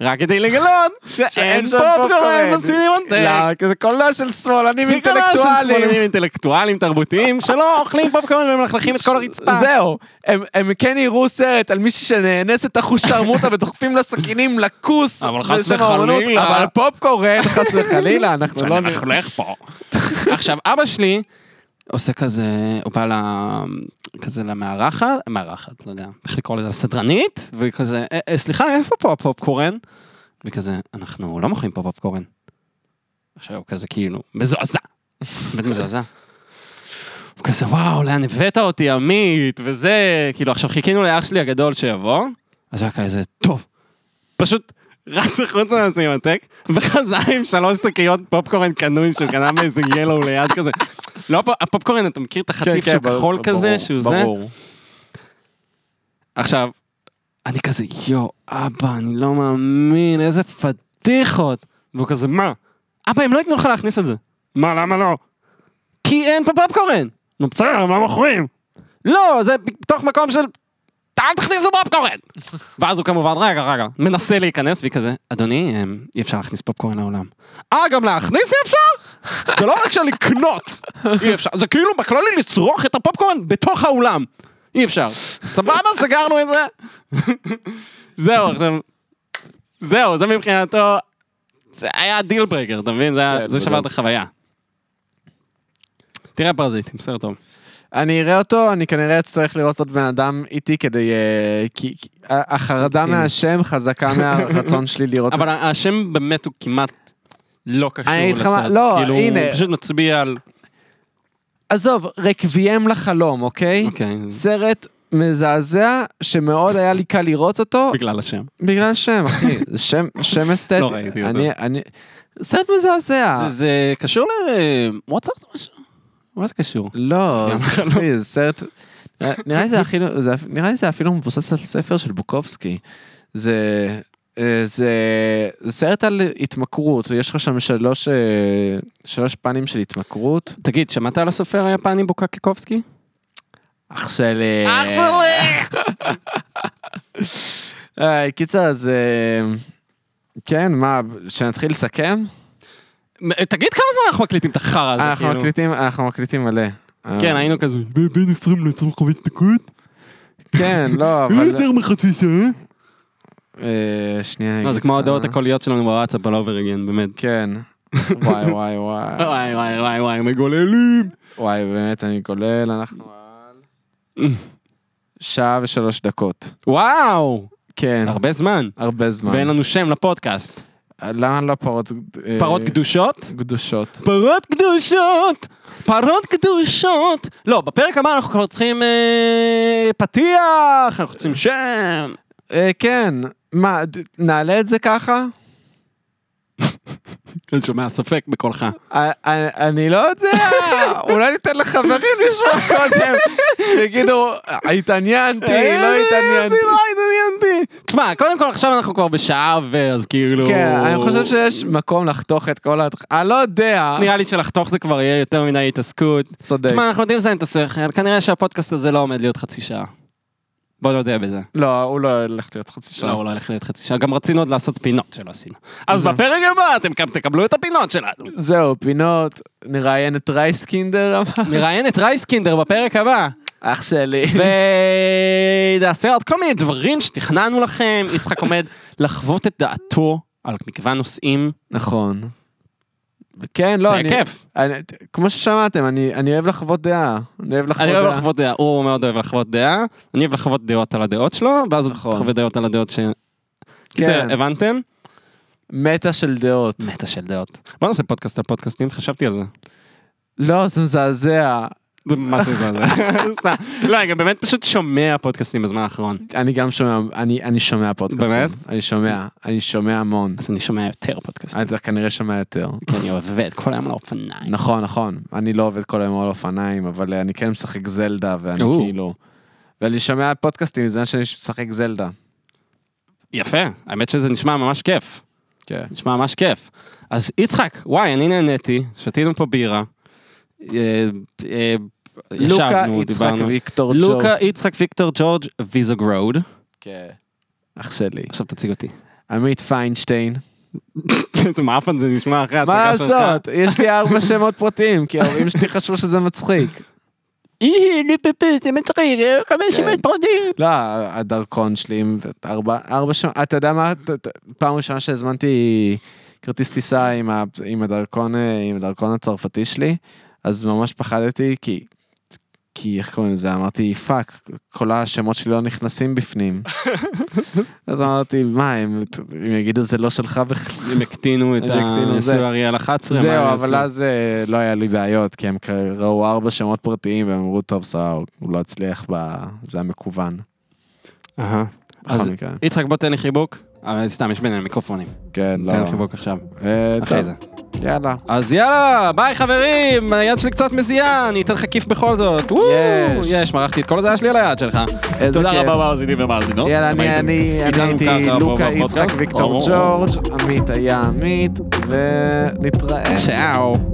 רק כדי לגלות שאין
שם
פופקורן בסינמטק.
לא, כן, זה קולנוע של שמאלנים
זה קרה של
אינטלקטואלים.
שמאלנים אינטלקטואלים תרבותיים שלא אוכלים פופקורן ומלכלכים את כל הרצפה.
זהו, הם, הם כן יראו סרט על מישהי שנאנסת אחוש שרמוטה ודוחפים לה סכינים לכוס.
אבל חס
בשם האומנות,
וחלילה.
אבל פופקורן, חס וחלילה, אנחנו לא...
אנחנו לך פה. עכשיו, אבא שלי עושה כזה, הוא בא ל- כזה למארחת, מארחת, לא יודע, איך לקרוא לזה, הסדרנית, וכזה, "אה, אה, סליחה, איפה פה הפופקורן? וכזה, אנחנו לא מוכרים פה פופקורן. עכשיו, הוא כזה כאילו, מזועזע. באמת מזועזע. הוא כזה, וואו, לאן הבאת אותי, עמית, וזה, כאילו, עכשיו חיכינו לאח שלי הגדול שיבוא, אז היה כזה, טוב. פשוט רץ החוצה מהסינמטק, וחזר עם שלוש שקיות פופקורן קנוי שהוא קנה מאיזה ילו ליד כזה. לא, הפ- הפופקורן, אתה מכיר את
כן,
החטיף שהוא כחול כזה, שהוא זה? עכשיו, אני כזה, יואו, אבא, אני לא מאמין, איזה פדיחות. והוא כזה, מה? אבא, הם לא ייתנו לך להכניס את זה. מה, למה לא? כי אין פה פופקורן. נו, בסדר, מה מוכרים? לא, זה בתוך מקום של... אל תכניסו פופקורן! ואז הוא כמובן, רגע, רגע, מנסה להיכנס, והיא כזה, אדוני, אמ, אי אפשר להכניס פופקורן לאולם. אה, גם להכניס אי אפשר? זה לא רק שלקנות אי אפשר, זה כאילו בכללי לצרוך את הפופקורן בתוך האולם. אי אפשר. סבבה, סגרנו את זה. זהו, עכשיו... זהו, זה מבחינתו... זה היה דיל ברקר, אתה מבין? זה היה-
כן,
זה שבר את
בדיוק.
החוויה. תראה פרזיטים, סרט טוב.
אני אראה אותו, אני כנראה אצטרך לראות עוד בן אדם איתי כדי... אה, כי כי ה- החרדה
אופטימי.
מהשם חזקה מהרצון שלי לראות את
אוקיי. אבל ה- השם באמת הוא כמעט לא קשור
אה, אני אגיד לך מה-
לסרט.
לא,
כאילו,
הנה.
הוא פשוט מצביע על...
עזוב, רקביים לחלום, אוקיי?
אוקיי,
סרט מזעזע שמאוד היה לי קל לראות אותו
בגלל השם.
בגלל שם, אחי. זה שם, שם אסתטי.
לא ראיתי אותו.
אני- אני- סרט מזעזע.
זה- זה קשור למוצרט או משהו? מה זה קשור?
לא, זה- אחי, זה סרט... נראה לי זה אפילו- זה אפ- נראה לי זה אפילו מבוסס על ספר של בוקובסקי. זה... אה, זה זה סרט על התמכרות, יש לך שם שלוש, אה, שלוש פנים של התמכרות.
תגיד, שמעת על הסופר היפני בוקקי קובסקי?
אח שלי. אה, קיצר, אז... אה, כן, מה, שנתחיל לסכם?
אה, תגיד כמה זמן אנחנו מקליטים את החרא הזה,
אנחנו
כאילו.
מקליטים, אה. אנחנו מקליטים מלא.
כן, היינו כזה "ב- בין 20 ל-25 דקות,
כן, לא,
לא
אבל...
יותר מחצי שעה.
אה, שנייה, אני
לא,
אגיד
זה כמו
לך.
ההודעות הקוליות שלנו בוואטסאפ על אוברגן, באמת.
כן. וואי, וואי, וואי.
וואי וואי וואי וואי, מגוללים.
וואי, באמת, אני גולל, אנחנו על... שעה ושלוש דקות.
וואו,
כן,
הרבה זמן.
הרבה אה. זמן.
ואין לנו שם לפודקאסט.
למה לא פרות... אה,
פרות קדושות?
קדושות.
פרות קדושות! פרות קדושות! לא, בפרק הבא אנחנו כבר צריכים אה, פתיח, אנחנו צריכים שם.
אה, כן, מה, ד- נעלה את זה ככה?
אני שומע ספק בקולך.
אה, אה, אני לא יודע, אולי ניתן לחברים לשמוע קודם. יגידו, התעניינתי, לא התעניינתי.
אה, לא התעניינתי. תשמע, קודם כל עכשיו אנחנו כבר בשעה ו... אז כאילו...
כן, אני חושב שיש מקום לחתוך את כל ה... אני לא יודע,
נראה לי שלחתוך זה כבר יהיה יותר מדי התעסקות.
צודק.
תשמע, אנחנו יודעים לזיין את השכל, כנראה שהפודקאסט הזה לא עומד להיות חצי שעה. בוא נודה בזה.
לא, הוא לא הולך להיות חצי
לא,
שעה.
הוא לא הולך להיות חצי שעה. גם רצינו עוד לעשות פינות שלא עשינו. אז בפרק הבא אתם גם תקבלו את הפינות שלנו.
זהו, פינות, נראיין את רייסקינדר, אמר.
נראיין את רייסקינדר בפרק הבא,
אח שלי.
כן. ונעשה עוד כל מיני דברים שתכננו לכם. יצחק עומד לחוות את דעתו על מגוון נושאים,
נכון. כן, לא,
זה
אני...
כיף.
אני- כמו ששמעתם, אני אני אוהב לחוות דעה. אני אוהב לחוות
אני אוהב
דעה.
לחוות דעה, הוא מאוד אוהב לחוות דעה, אני אוהב לחוות דעות על הדעות שלו, ואז הוא
נכון.
חווה דעות על הדעות ש... כן. הבנתם?
מטה של דעות.
מטה של דעות. בוא נעשה פודקאסט על פודקאסטים, חשבתי על זה.
לא, זה מזעזע.
זה ממש מזעזע. סתם. לא, אני גם באמת פשוט שומע פודקאסטים בזמן האחרון.
אני גם שומע, אני, אני שומע פודקאסטים.
באמת?
אני שומע, אני שומע המון.
אז אני שומע יותר פודקאסטים.
אתה כנראה שומע יותר.
כי אני עובד כל היום על האופניים.
נכון, נכון. אני לא עובד כל היום על אופניים, אבל אה, אני כן משחק זלדה, ואני
או.
כאילו... ואני שומע פודקאסטים, זה מה שאני משחק זלדה.
יפה, האמת שזה נשמע ממש כיף.
כן.
נשמע ממש כיף. אז יצחק, וואי, אני נהניתי, שתינו פה בירה. אה, אה,
לוקה,
ישבנו,
יצחק
דיברנו.
ויקטור ג'וב.
לוקה, יצחק, ויקטור ג'ורג', ויזוג רוד.
כן. אח שלי.
עכשיו תציג אותי.
עמית פיינשטיין.
איזה מעפן זה נשמע אחרי
מה
ההצגה שלך.
לעשות? יש לי ארבע שמות פרטיים, כי ההורים שלי חשבו שזה מצחיק.
אי, ליפפי, זה מצחיק, אה, חמש שמות פרטים.
לא, הדרכון שלי, עם ארבע, ארבע שעות, אתה יודע מה, ת- ת- פעם ראשונה שהזמנתי כרטיס טיסה עם, ה, עם, הדרכון, אה, עם הדרכון הצרפתי שלי, אז ממש פחדתי, כי, כי איך קוראים לזה, אמרתי, פאק, כל השמות שלי לא נכנסים בפנים. אז אמרתי, מה, הם, הם יגידו זה לא שלך בכלל.
הם הקטינו את
הם הקטינו, זה-
הניסוי אריאל 11. מה
זהו,
הם
אבל
יעשו?
אז אה, לא היה לי בעיות, כי הם כ- ראו ארבע שמות פרטיים, והם אמרו, טוב, סבבה, הוא לא הצליח, ב- זה המקוון.
אהה. אז
בכל מקרה,
יצחק, בוא תן לי חיבוק. אבל סתם, יש בינינו מיקרופונים.
כן, לא.
תן לי חיבוק עכשיו.
אה,
אחרי
טוב,
זה.
יאללה.
אז יאללה, ביי חברים, היד שלי קצת מזיעה, אני אתן לך כיף בכל זאת. וואו,
יש.
יש, מרחתי את כל הזיעה שלי על היד שלך.
איזה
תודה
כיף.
רבה מאזינים ומאזינות.
יאללה,
אתם
אני,
הייתם
אני, אני
איתנו
הייתי
ככה
לוקה
בפודקאסט.
יצחק ויקטור
ברור.
ג'ורג', עמית היה עמית, ונתראה.
צ'או.